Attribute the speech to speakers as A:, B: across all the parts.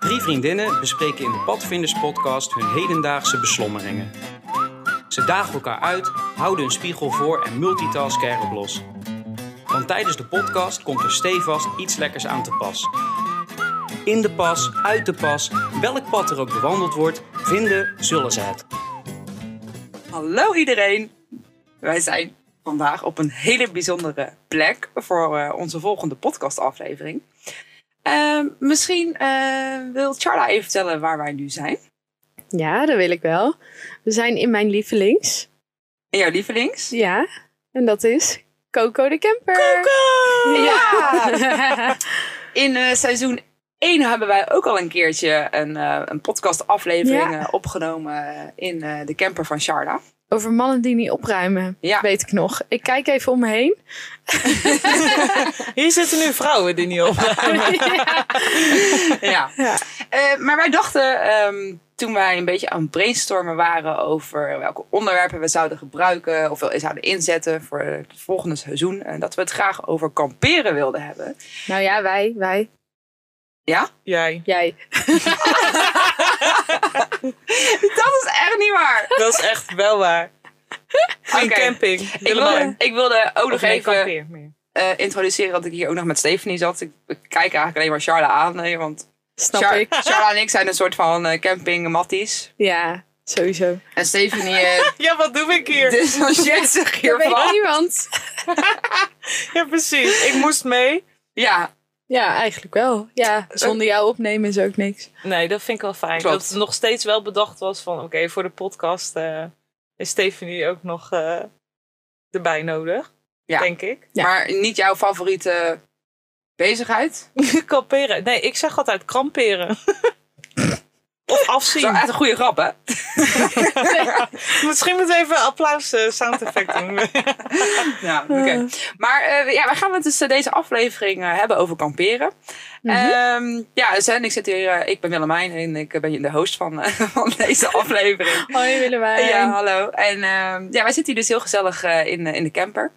A: Drie vriendinnen bespreken in de Padvinders podcast hun hedendaagse beslommeringen. Ze dagen elkaar uit, houden hun spiegel voor en multitasken erop los. Want tijdens de podcast komt er stevast iets lekkers aan te pas. In de pas, uit de pas, welk pad er ook bewandeld wordt, vinden zullen ze het.
B: Hallo iedereen! Wij zijn vandaag op een hele bijzondere plek voor eh, onze volgende podcastaflevering. Ehm, misschien eh, wil Charla even vertellen waar wij nu zijn.
C: Ja, dat wil ik wel. We zijn in mijn lievelings.
B: En jouw lievelings?
C: Ja, en dat is Coco de Camper.
B: Ja!
C: Ja!
B: In eh, seizoen 1 hebben wij ook al een keertje een, eh, een podcastaflevering
C: Ja.
B: eh, opgenomen in eh, de camper van Charla.
C: Over mannen die niet opruimen,
B: Ja.
C: weet ik nog. Ik kijk even om me heen.
D: Hier zitten nu vrouwen die niet op.
C: Ja.
B: ja.
C: Ja.
B: Eh, maar wij dachten ehm, toen wij een beetje aan het brainstormen waren over welke onderwerpen we zouden gebruiken of wel zouden inzetten voor het volgende seizoen, eh, dat we het graag over kamperen wilden hebben.
C: Nou ja, wij, wij,
D: Jij.
C: jij.
B: Dat is echt niet waar.
D: Dat is echt wel waar. Een
B: Oké.
D: camping.
B: Ik wilde,
D: Willemijn.
B: ik wilde ook nog
D: Of nee,
B: even
D: kampeer meer.
B: eh, introduceren dat ik hier ook nog met Stephanie zat. Ik, ik kijk eigenlijk alleen maar Charla aan, nee, want
C: Snap
B: Char-
C: ik.
B: Charla en ik zijn een soort van eh, camping-matties.
C: Ja, sowieso.
B: En Stephanie eh
D: Ja, wat doe ik hier?
B: distancieert Dus zich
C: Dat weet
B: hiervan.
C: niemand.
D: Ja, precies. Ik moest mee.
B: Ja,
C: Ja, eigenlijk wel. Ja, zonder jou opnemen is ook niks.
D: Nee, dat vind ik wel fijn.
B: Klopt.
D: Dat het nog steeds wel bedacht was van... Oké, voor de podcast eh, is Stephanie ook nog eh, erbij nodig.
B: Ja.
D: Denk ik.
C: Ja.
B: Maar niet jouw favoriete bezigheid?
D: Kamperen. Nee, ik zeg altijd kramperen. of
B: Dat is
D: afzien.
B: echt een goede grap, hè?
D: eh, Misschien moet even een applaus eh, sound effect doen.
B: Ja, oké. Maar eh, ja, wij gaan het dus eh, deze aflevering eh, hebben over kamperen.
C: Mhm.
B: Ehm, ja, dus, en ik zit hier, eh, ik ben Willemijn en ik eh, ben de host van, eh, van deze aflevering.
C: Hoi Willemijn.
B: Ja, hallo. En ehm, ja, wij zitten hier dus heel gezellig eh, in, eh, in de camper.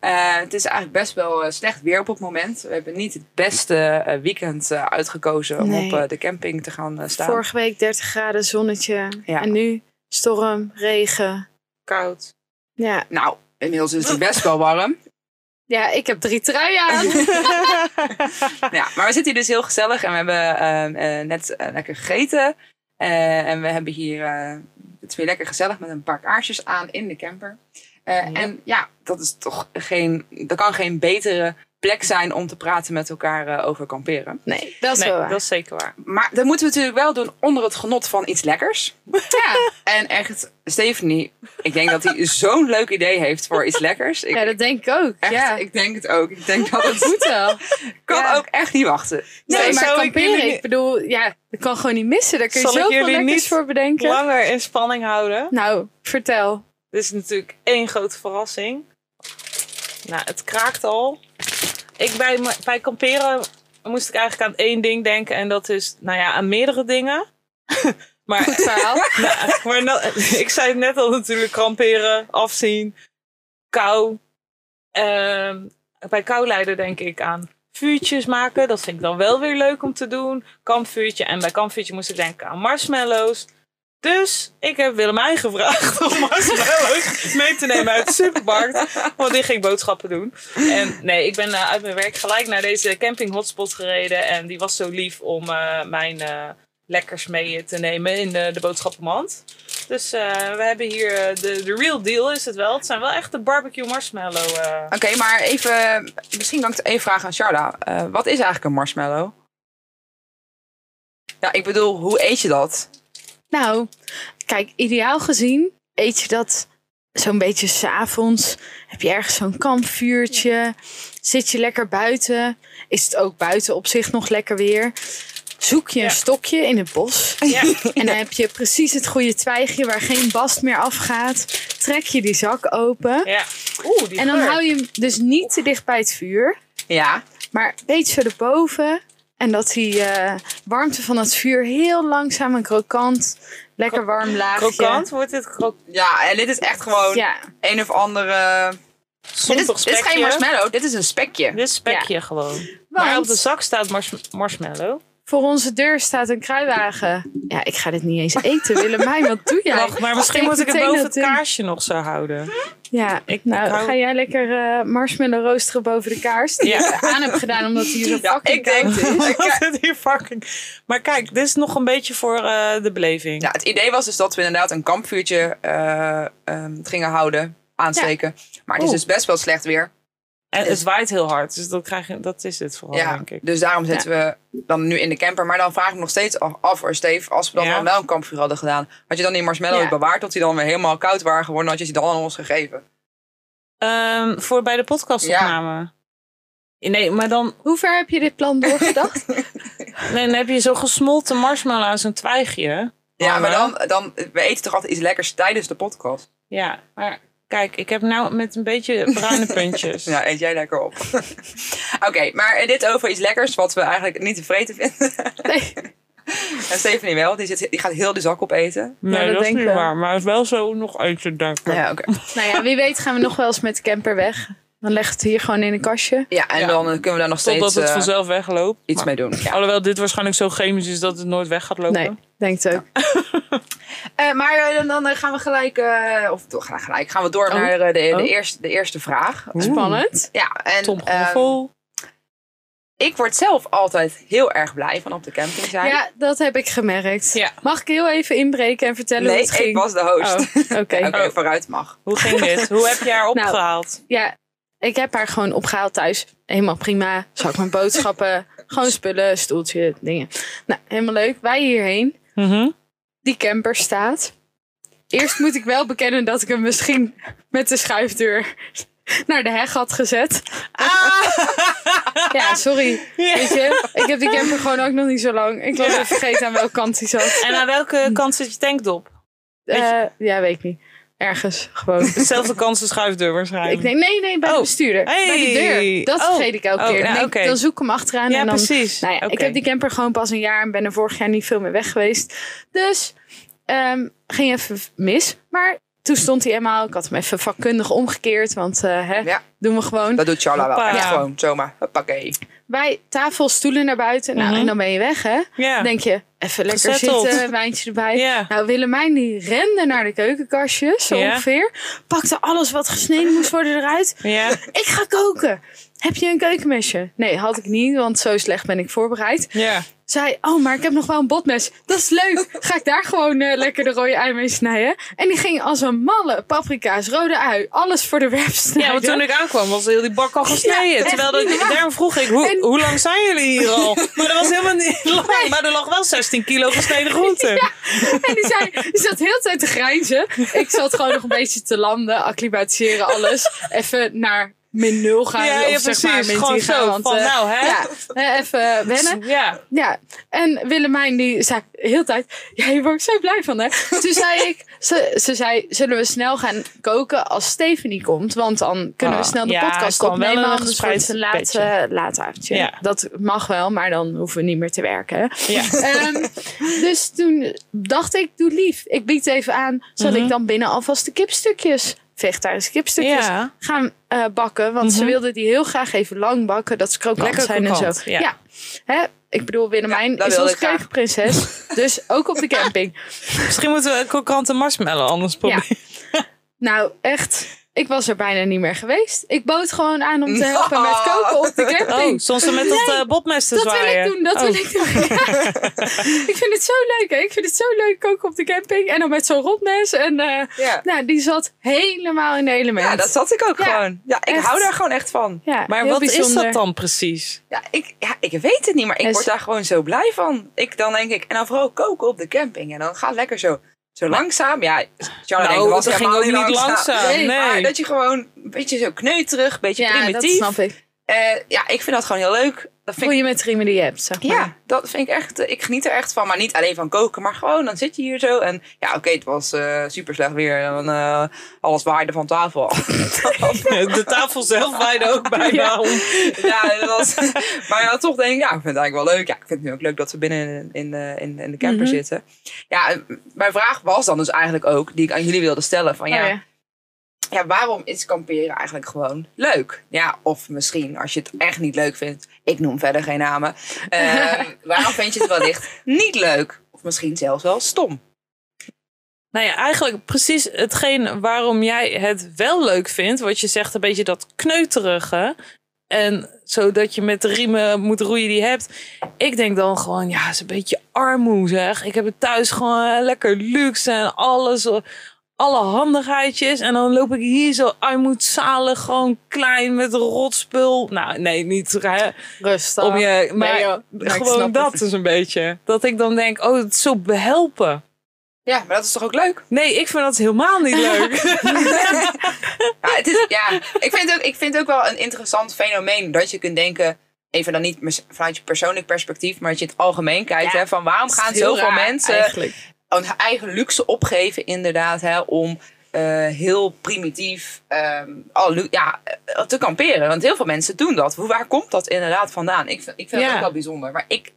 B: Eh, het is eigenlijk best wel eh, slecht weer op het moment. We hebben niet het beste eh, weekend eh, uitgekozen om
C: Nee.
B: op eh, de camping te gaan eh, staan.
C: Vorige week 30 graden zonnetje.
B: Ja.
C: En nu storm, regen.
D: Koud.
C: Ja.
B: Nou, inmiddels is het best wel warm.
C: ja, ik heb drie truien aan.
B: Ja, maar we zitten hier dus heel gezellig en we hebben ehm, eh, net eh, lekker gegeten. Eh, en we hebben hier, eh, het is weer lekker gezellig met een paar kaarsjes aan in de camper. Eh,
D: Ja.
B: En ja, dat is toch geen, dat kan geen betere plek zijn om te praten met elkaar eh, over kamperen.
C: Nee, dat is
D: nee,
C: wel waar.
D: dat is zeker waar.
B: Maar dat moeten we natuurlijk wel doen onder het genot van iets lekkers.
C: Ja,
B: En echt, Stephanie, ik denk dat hij zo'n leuk idee heeft voor iets lekkers. Ik,
C: ja, dat denk ik ook.
B: echt,
C: ja,
B: ik denk het ook. Ik denk dat het
C: moet wel.
B: kan
C: Ja.
B: ook echt niet wachten.
C: Nee,
D: Nee,
C: maar
D: zou ik
C: kamperen, ik,
D: jullie-
C: bedoel, ja, dat kan gewoon niet missen. Daar kun je
D: Zal ik
C: zoveel
D: jullie
C: lekkers
D: niet
C: voor bedenken.
D: Langer in spanning houden.
C: Nou, vertel.
D: Dit is natuurlijk één grote verrassing. Nou, het kraakt al. Ik bij, me- bij kamperen moest ik eigenlijk aan één ding denken. En dat is, nou ja, aan meerdere dingen. maar
C: Goed verhaal.
D: nou, maar nou, ik zei het net al natuurlijk, kramperen, afzien, kou. Ehm, bij kouleider denk ik aan vuurtjes maken. Dat vind ik dan wel weer leuk om te doen. Kampvuurtje. En bij kampvuurtje moest ik denken aan marshmallows. Dus ik heb Willemijn gevraagd om marshmallows mee te nemen uit de supermarkt. Want die ging boodschappen doen. En nee, ik ben eh, uit mijn werk gelijk naar deze camping hotspot gereden. En die was zo lief om eh, mijn... eh, lekkers mee te nemen in de, de boodschappenmand. Dus eh, we hebben hier eh, de, de real deal is het wel. Het zijn wel echt de barbecue marshmallow. eh.
B: Oké, maar even, misschien kan ik één vraag aan Charla. Eh, wat is eigenlijk een marshmallow? Ja, ik bedoel, hoe eet je dat?
C: Nou, kijk, ideaal gezien eet je dat zo'n beetje s'avonds. Heb je ergens zo'n kampvuurtje. Zit je lekker buiten. Is het ook buiten op zich nog lekker weer. Zoek je een
D: Ja.
C: stokje in het bos.
D: Ja,
C: En dan heb je precies het goede twijgje waar geen bast meer afgaat. Trek je die zak open.
D: ja. Oeh, die
C: En dan
D: geur.
C: hou je hem dus niet te dicht bij het vuur.
B: Ja,
C: Maar een beetje zo erboven. En dat die eh, warmte van het vuur heel langzaam en krokant. Lekker warm laagje.
D: Krokant wordt dit krokant.
B: ja en dit is echt gewoon
C: Ja,
B: een of andere... Dit is,
D: Sompig
B: dit
D: spekje.
B: is geen marshmallow, dit is een spekje.
D: Dit is spekje gewoon.
C: want
D: Maar op de zak staat mars- marshmallow.
C: Voor onze deur staat een kruiwagen. Ja, ik ga dit niet eens eten. Willemijn, wat doe jij?
D: Wacht, maar misschien
C: Steek
D: moet ik het
C: meteen
D: boven het
C: dat in.
D: kaarsje nog zo houden.
C: Ja,
D: Ik-
C: nou,
D: ik hou-
C: ga jij lekker eh, marshmallow roosteren boven de kaars? Die
D: Ja.
C: ik aan heb gedaan omdat hij zo
B: Ja,
C: fucking
B: ik denk
C: koud is.
B: dit.
D: Wat het hier fucking... Maar kijk, dit is nog een beetje voor eh, de beleving.
B: Ja, het idee was dus dat we inderdaad een kampvuurtje eh, ehm, gingen houden, aansteken. Maar het is
D: Oeh.
B: dus best wel slecht weer.
D: En het waait heel hard, dus dat, krijg je, dat is het vooral,
B: ja,
D: denk ik.
B: dus daarom zitten we dan nu in de camper. Maar dan vraag ik me nog steeds af, af or Steve, als we dan
D: Ja.
B: al wel een kampvuur hadden gedaan, had je dan die marshmallow
C: Ja.
B: bewaard tot die dan weer helemaal koud waren geworden, had je die dan aan ons gegeven?
D: Ehm, voor bij de podcastopname. Nee, maar dan,
C: Hoe ver heb je dit plan doorgedacht?
D: nee, dan heb je zo'n gesmolten marshmallow aan zo'n twijgje.
B: Ja, maar
D: Hangen.
B: dan, dan, we eten toch altijd iets lekkers tijdens de podcast?
D: Ja, maar kijk, ik heb nou met een beetje bruine puntjes.
B: Ja, eet jij lekker op. Oké, maar dit over iets lekkers wat we eigenlijk niet tevreden vinden.
C: Nee.
B: En Stephanie wel, die, zit, die gaat heel de zak opeten.
D: Nee,
C: Ja, dat
D: dat, is
C: denk
D: niet
C: ik wel.
D: waar. Maar het is wel zo nog uit te denken.
B: Ja, oké.
C: nou ja, wie weet gaan we nog wel eens met de camper weg. Dan legt het hier gewoon in een kastje.
B: Ja, en
D: Ja.
B: dan kunnen we daar nog steeds
D: Totdat het
B: eh,
D: vanzelf wegloopt.
B: iets
D: Maar-
B: mee doen. Ja.
D: Alhoewel dit waarschijnlijk zo chemisch is dat het nooit weg gaat lopen.
C: Nee, denk het ook.
B: Eh, maar eh, dan, dan eh, gaan we gelijk, eh, of we gaan gelijk, gaan we door
C: Oh.
B: naar eh, de, de,
C: Oh.
B: eerste, de eerste vraag.
C: Spannend.
B: Ja, en
D: Tom
B: ehm,
D: Groffel.
B: ik word zelf altijd heel erg blij van op de camping zijn.
C: Ja, dat heb ik gemerkt.
D: Ja.
C: Mag ik heel even inbreken en vertellen
B: nee,
C: hoe het ging?
B: ik was de host.
C: Oh, Oké.
B: Oké,
D: Oh.
B: vooruit mag.
D: Hoe ging dit? Hoe heb je haar
C: Nou.
D: opgehaald?
C: Ja, ik heb haar gewoon opgehaald thuis. Helemaal prima. Zak mijn boodschappen, gewoon spullen, stoeltje, dingen. Nou, helemaal leuk. Wij hierheen.
D: Mhm.
C: Die camper staat. Eerst moet ik wel bekennen dat ik hem misschien met de schuifdeur naar de heg had gezet. Ja, sorry. Weet je, ik heb die camper gewoon ook nog niet zo lang. Ik was even vergeten aan welke kant hij zat.
D: En aan welke kant zit je tankdop? Weet je-
C: Eh, ja, weet ik niet. Ergens gewoon.
D: Dezelfde kant als de schuifdeur waarschijnlijk.
C: Ik denk, nee, nee, bij de
D: Oh.
C: bestuurder. Bij de
D: Hey.
C: deur. Dat
D: Oh.
C: vergeet ik elke
D: Oh,
C: keer. Dan
D: nou,
C: denk ik,
D: oké.
C: Dan zoek ik hem achteraan
D: ja,
C: en dan
D: precies.
C: Nou ja, ik
D: Oké.
C: heb die camper gewoon pas een jaar en ben er vorig jaar niet veel meer weg geweest. Dus ehm, ging even mis. Maar toen stond hij eenmaal. Ik had hem even vakkundig omgekeerd. Want eh, hè,
B: Ja.
C: doen we gewoon.
B: Dat doet Charla wel.
D: Hoppa.
B: Echt
D: Ja.
B: gewoon, zomaar. Hoppakee.
C: Wij tafel, stoelen naar buiten. Nou,
D: Mhm.
C: en dan ben je weg, hè?
D: Ja.
C: Dan denk je, even lekker
D: Gezetteld.
C: zitten, wijntje erbij.
D: Ja.
C: Nou, Willemijn die rende naar de keukenkastjes, zo
D: Ja.
C: ongeveer. Pakte alles wat gesneden moest worden eruit.
D: Ja.
C: Ik ga koken. Heb je een keukenmesje? Nee, had ik niet, want zo slecht ben ik voorbereid.
D: Ja.
C: zei, oh, maar ik heb nog wel een botmes. Dat is leuk. Ga ik daar gewoon eh, lekker de rode ei mee snijden? En die ging als een malle paprika's, rode ui, alles voor de werf snijden.
D: ja, want toen ik aankwam was heel die bak al gesneden.
C: Ja, echt
D: Terwijl dat, daarom vroeg ik, hoe,
C: En-
D: hoe lang zijn jullie hier al? Maar dat was helemaal niet lang. Maar er lag wel 16 kilo gesneden groente.
C: En die, zei, die zat heel de tijd te grijnzen. Ik zat gewoon nog een beetje te landen, acclimatiseren, alles. Even naar min nul gaan
D: Ja,
C: of
D: ja,
C: zeg maar
D: precies.
C: min
D: Gewoon
C: 10 gaan.
D: zo,
C: want,
D: van
C: eh,
D: nou, hè?
C: Ja, eh, even wennen.
D: Ja.
C: Ja, en Willemijn die zei heel de tijd, ja, je wordt zo blij van hè. Toen zei ik, ze, ze zei, zullen we snel gaan koken als Stephanie komt? Want dan kunnen we
D: Ah,
C: snel de
D: ja, het
C: podcast
D: kwam wel
C: opnemen,
D: een
C: anders wordt het een laat,
D: gespreid
C: eh, laat avondje.
D: Ja.
C: Dat mag wel, maar dan hoeven we niet meer te werken. hè.
D: ja.
C: Ehm, dus toen dacht ik, doe lief, ik bied even aan, zal
D: Mhm.
C: ik dan binnen alvast de kipstukjes, vegetarische kipstukjes,
D: Ja.
C: gaan eh, bakken. Want ze
D: Mhm.
C: wilden die heel graag even lang bakken. Dat ze krokant
D: Lekker
C: zijn en
D: krokant,
C: zo.
D: ja.
C: Hè? Ik bedoel, Willemijn
B: Ja, dat
C: is
B: wilde
C: onze
B: ik graag.
C: keukenprinses. dus ook op de camping.
D: Misschien moeten we een krokante marshmallow anders proberen.
C: Nou, echt. Ik was er bijna niet meer geweest. Ik bood gewoon aan om te helpen met koken op de
D: Oh,
C: camping.
D: soms dan met dat eh botmes te
C: dat wil
D: zwaaien.
C: ik doen, dat
D: Oh.
C: wil ik doen. Ja. ik vind het zo leuk, hè? Ik vind het zo leuk koken op de camping. En dan met zo'n rotmes. En eh,
B: Ja.
C: nou, die zat helemaal in de elementen.
B: ja, dat zat ik ook
C: Ja,
B: gewoon. Ja, ik
C: echt.
B: hou daar gewoon echt van.
C: Ja,
D: Maar
C: heel
D: wat is
C: bijzonder.
D: dat dan precies?
B: Ja ik, ja, ik weet het niet, maar ik
C: En
B: word
C: ze-
B: daar gewoon zo blij van. Ik, dan denk ik, en dan vooral koken op de camping. En dan gaat lekker zo, zo langzaam. Ja, Charla denkt,
D: nou,
B: was
D: dat ging
B: helemaal
D: ook niet langzaam.
C: Nee,
D: Nee,
B: Maar dat je gewoon een beetje zo kneuterig, een beetje
C: Ja, dat
B: primitief.
C: snap ik.
B: Eh, ja, ik vind dat gewoon heel leuk. Dat
C: Voel
B: vind ik,
C: je met de riemen die je hebt, zeg maar.
B: ja, dat vind ik echt. eh, Ik geniet er echt van. Maar niet alleen van koken, maar gewoon dan zit je hier zo. En ja, oké, het was eh super slecht weer. En dan, eh, alles waaide van tafel.
D: De tafel zelf waaide ook bijna
C: Ja.
D: om.
B: ja, dat was, maar ja, toch denk ik, ja, ik vind het eigenlijk wel leuk. Ja, ik vind het nu ook leuk dat we binnen in, in, eh, in, in de camper
C: Mhm.
B: zitten. Ja, en mijn vraag was dan dus eigenlijk ook, die ik aan jullie wilde stellen. Van ja,
C: Oh ja.
B: ja, waarom is kamperen eigenlijk gewoon leuk? Ja, of misschien als je het echt niet leuk vindt. Ik noem verder geen namen. eh, waarom vind je het wellicht niet leuk? Of misschien zelfs wel stom.
D: Nou ja, eigenlijk precies hetgeen waarom jij het wel leuk vindt. Wat je zegt, een beetje dat kneuterige. En zodat je met de riemen moet roeien die je hebt. Ik denk dan gewoon, ja, het is een beetje armoe zeg. Ik heb het thuis gewoon eh, lekker luxe en alles. eh, Alle handigheidjes. En dan loop ik hier zo armoedzalig, gewoon klein met rotspul. Nou, nee, niet hè,
C: Rustig.
D: om je... Maar
C: Nee, joh. Maar ik
D: gewoon
C: snap
D: dat
C: het.
D: is een beetje. Dat ik dan denk, oh, het is zo behelpen.
B: Ja, maar dat is toch ook leuk?
D: Nee, ik vind dat helemaal niet leuk.
B: Ja, het is, ja. Ik, vind het ook, ik vind het ook wel een interessant fenomeen dat je kunt denken, even dan niet mis- vanuit je persoonlijk perspectief, maar dat je het algemeen kijkt,
C: Ja.
B: hè, van waarom
C: Het is
B: gaan
C: heel
B: zoveel
C: raar
B: mensen
C: Eigenlijk.
B: hun eigen luxe opgeven inderdaad, hè, om eh, heel primitief ehm, al, lu- ja, eh, te kamperen. Want heel veel mensen doen dat. Hoe- Waar komt dat inderdaad vandaan? Ik, vind- ik vind
D: Ja.
B: het ook wel bijzonder, maar ik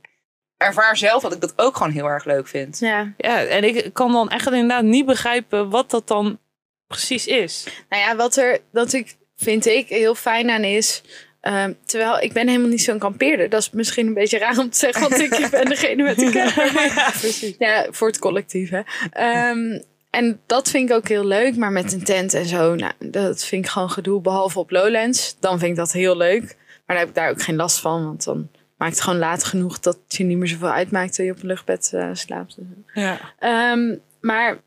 B: ervaar zelf dat ik dat ook gewoon heel erg leuk vind.
C: Ja.
D: ja, en ik kan dan echt inderdaad niet begrijpen wat dat dan precies is.
C: Nou ja, wat er, dat ik, vind ik, heel fijn aan is. ehm, terwijl ik ben helemaal niet zo'n kampeerder. Dat is misschien een beetje raar om te zeggen, want ik ben degene met de camper.
D: ja, precies.
C: Ja, voor het collectief, hè. Ehm, en dat vind ik ook heel leuk, maar met een tent en zo, nou, dat vind ik gewoon gedoe. Behalve op Lowlands, dan vind ik dat heel leuk. Maar dan heb ik daar ook geen last van, want dan maakt het gewoon laat genoeg dat je niet meer zoveel uitmaakt dat je op een luchtbed eh, slaapt.
D: Ja.
C: Ehm, maar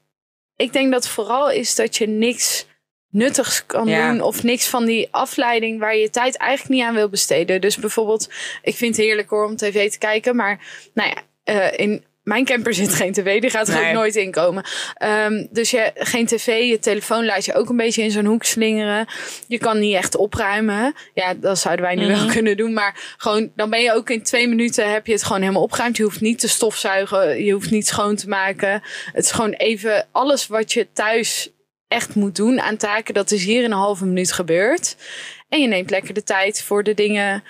C: ik denk dat vooral is dat je niks nuttigs kan
B: Ja.
C: doen of niks van die afleiding waar je je tijd eigenlijk niet aan wil besteden. Dus bijvoorbeeld, ik vind het heerlijk hoor om tv te kijken, maar nou ja, eh, in mijn camper zit geen tv, die gaat er
B: Nee.
C: ook nooit in komen. Ehm, dus je, geen tv, je telefoon laat je ook een beetje in zo'n hoek slingeren. Je kan niet echt opruimen. Ja, dat zouden wij nu
D: Mhm.
C: wel kunnen doen. Maar gewoon, dan ben je ook in twee minuten heb je het gewoon helemaal opgeruimd. Je hoeft niet te stofzuigen. Je hoeft niet schoon te maken. Het is gewoon even alles wat je thuis echt moet doen aan taken. Dat is hier in een halve minuut gebeurd. En je neemt lekker de tijd voor de dingen.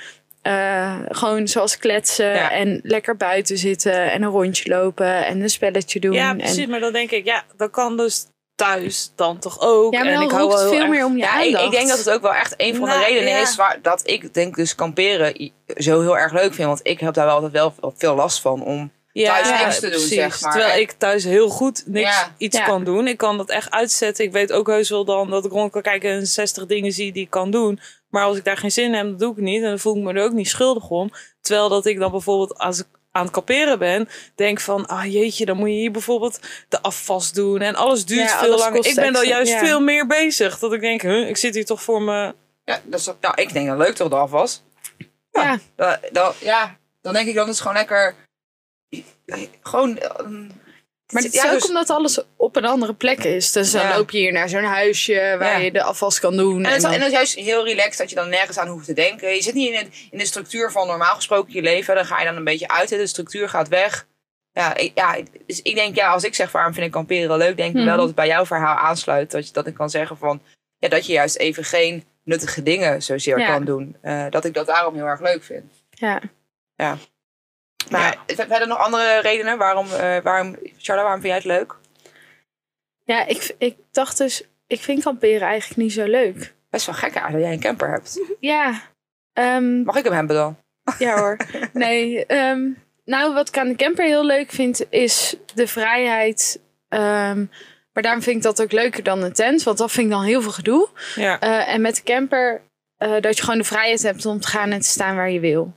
C: eh, gewoon zoals kletsen
B: Ja.
C: en lekker buiten zitten en een rondje lopen en een spelletje doen.
D: ja,
C: en-
D: precies. Maar dan denk ik, ja, dat kan dus thuis dan toch ook.
C: Ja, maar
D: en
C: dan
D: ik hou
C: roept
D: wel
C: het
D: heel
C: veel
D: erg-
C: meer om je
B: Ja, ik,
C: aandacht.
B: ik denk dat het ook wel echt een van
D: Nou,
B: de redenen
D: ja.
B: is waar, dat ik denk dus kamperen i- zo heel erg leuk vind. Want ik heb daar wel altijd wel veel last van om. thuis niks te doen, zeg maar.
D: Terwijl ik thuis heel goed niks,
B: Ja.
D: iets
C: Ja.
D: kan doen. Ik kan dat echt uitzetten. Ik weet ook heus wel dan dat ik rond kan kijken en 60 dingen zie die ik kan doen. Maar als ik daar geen zin in heb, dan doe ik het niet. En dan voel ik me er ook niet schuldig om. Terwijl dat ik dan bijvoorbeeld als ik aan het kamperen ben, denk van, ah jeetje, dan moet je hier bijvoorbeeld de afwas doen. En alles duurt
C: Ja,
D: veel
C: alles
D: langer.
C: kost
D: Ik ben dan
C: extra,
D: juist
C: ja.
D: veel meer bezig. Dat ik denk, huh, ik zit hier toch voor me.
B: Ja, dat is, nou, ik denk dat leuk toch de afwas.
C: Ja.
B: Dan, dan, ja, dan denk ik dan is het gewoon lekker. Gewoon. ehm,
C: Maar het is ook
B: dus-
C: omdat alles op een andere plek is. Dus dan
B: Ja.
C: loop je hier naar zo'n huisje waar
B: Ja.
C: je de afwas kan doen.
B: En het, is,
C: dan-
B: en het is juist heel relaxed dat je dan nergens aan hoeft te denken. Je zit niet in, het, in de structuur van normaal gesproken je leven. Dan ga je dan een beetje uit. hè. De structuur gaat weg. Ja, ik, ja, ik- dus ik denk, ja, als ik zeg waarom vind ik kamperen leuk, denk ik
C: Mhm.
B: wel dat het bij jouw verhaal aansluit. Dat, je, dat ik kan zeggen van, ja, dat je juist even geen nuttige dingen zozeer
C: Ja.
B: kan doen. Eh, dat ik dat daarom heel erg leuk vind.
C: ja.
B: Maar
D: Ja.
B: ja. verder nog andere redenen? Waarom, eh, waarom, Charlotte, waarom vind jij het leuk?
C: ja, ik, ik dacht dus, ik vind kamperen eigenlijk niet zo leuk.
B: Best wel gek eigenlijk dat jij een camper hebt.
C: Ja, Ehm,
B: Mag ik hem hebben dan?
C: ja hoor. Nee, ehm, nou wat ik aan de camper heel leuk vind is de vrijheid. Ehm, maar daarom vind ik dat ook leuker dan een tent, want dat vind ik dan heel veel gedoe.
D: Ja.
C: Eh, en met de camper, eh, dat je gewoon de vrijheid hebt om te gaan en te staan waar je wil.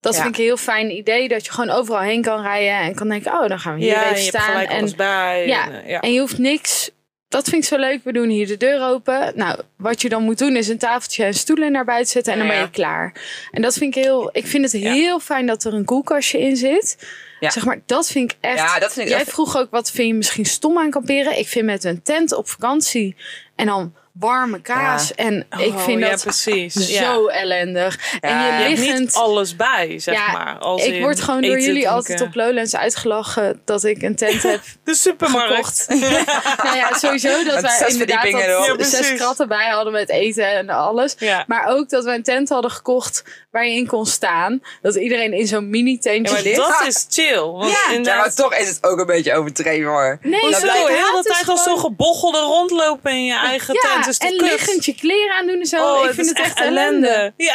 C: Dat
B: Ja.
C: vind ik een heel fijn idee, dat je gewoon overal heen kan rijden en kan denken, oh, dan gaan we hier
D: Ja, en
C: even
D: je hebt
C: staan.
D: gelijk
C: en,
D: alles bij.
C: Ja.
D: En, eh, ja.
C: en je hoeft niks, dat vind ik zo leuk, we doen hier de deur open. Nou, wat je dan moet doen is een tafeltje en stoelen naar buiten zetten en dan
D: Ja,
C: ben
D: ja.
C: je klaar. En dat vind ik heel, ik vind het
D: Ja.
C: heel fijn dat er een koelkastje in zit.
B: Ja.
C: Zeg maar, dat vind ik echt
B: Ja, dat vind ik
C: Jij vroeg ook wat vind je misschien stom aan kamperen? Ik vind met een tent op vakantie en dan warme kaas. En ik
D: Oh,
C: vind
D: ja,
C: dat
D: precies. Ja.
C: zo ellendig.
B: Ja,
C: En
B: je
C: je
D: Je hebt
C: liggend.
D: niet alles bij, zeg
C: Ja,
D: maar. Als
C: ik
D: in
C: word gewoon door
D: eten,
C: jullie
D: drinken.
C: altijd op Lowlands uitgelachen dat ik een tent heb
D: de supermarkt.
C: gekocht. nou ja, sowieso dat
B: Met
C: wij
B: zes
C: inderdaad
B: verdiepingen
C: dat
B: erop.
D: Ja,
C: zes
D: precies.
C: kratten bij hadden met eten en alles.
D: Ja.
C: Maar ook dat we een tent hadden gekocht waar je in kon staan. Dat iedereen in zo'n
D: Ja,
C: mini-tentje
D: maar
C: ligt.
D: dat is chill. Want
C: Ja.
B: Ja, maar
D: inderdaad,
B: toch is het ook een beetje overdreven hoor.
C: Nee,
D: hoezo
C: maar ik
D: heel
C: haat
D: de
C: het dus
D: tijd als
C: gewoon.
D: zo'n gebochelde rondlopen in je eigen Dus
C: Ja,
D: het is toch
C: en
D: kut?
C: liggend je kleren aandoen en zo. ik vind
D: Oh, is
C: het echt ellende.
D: Ja.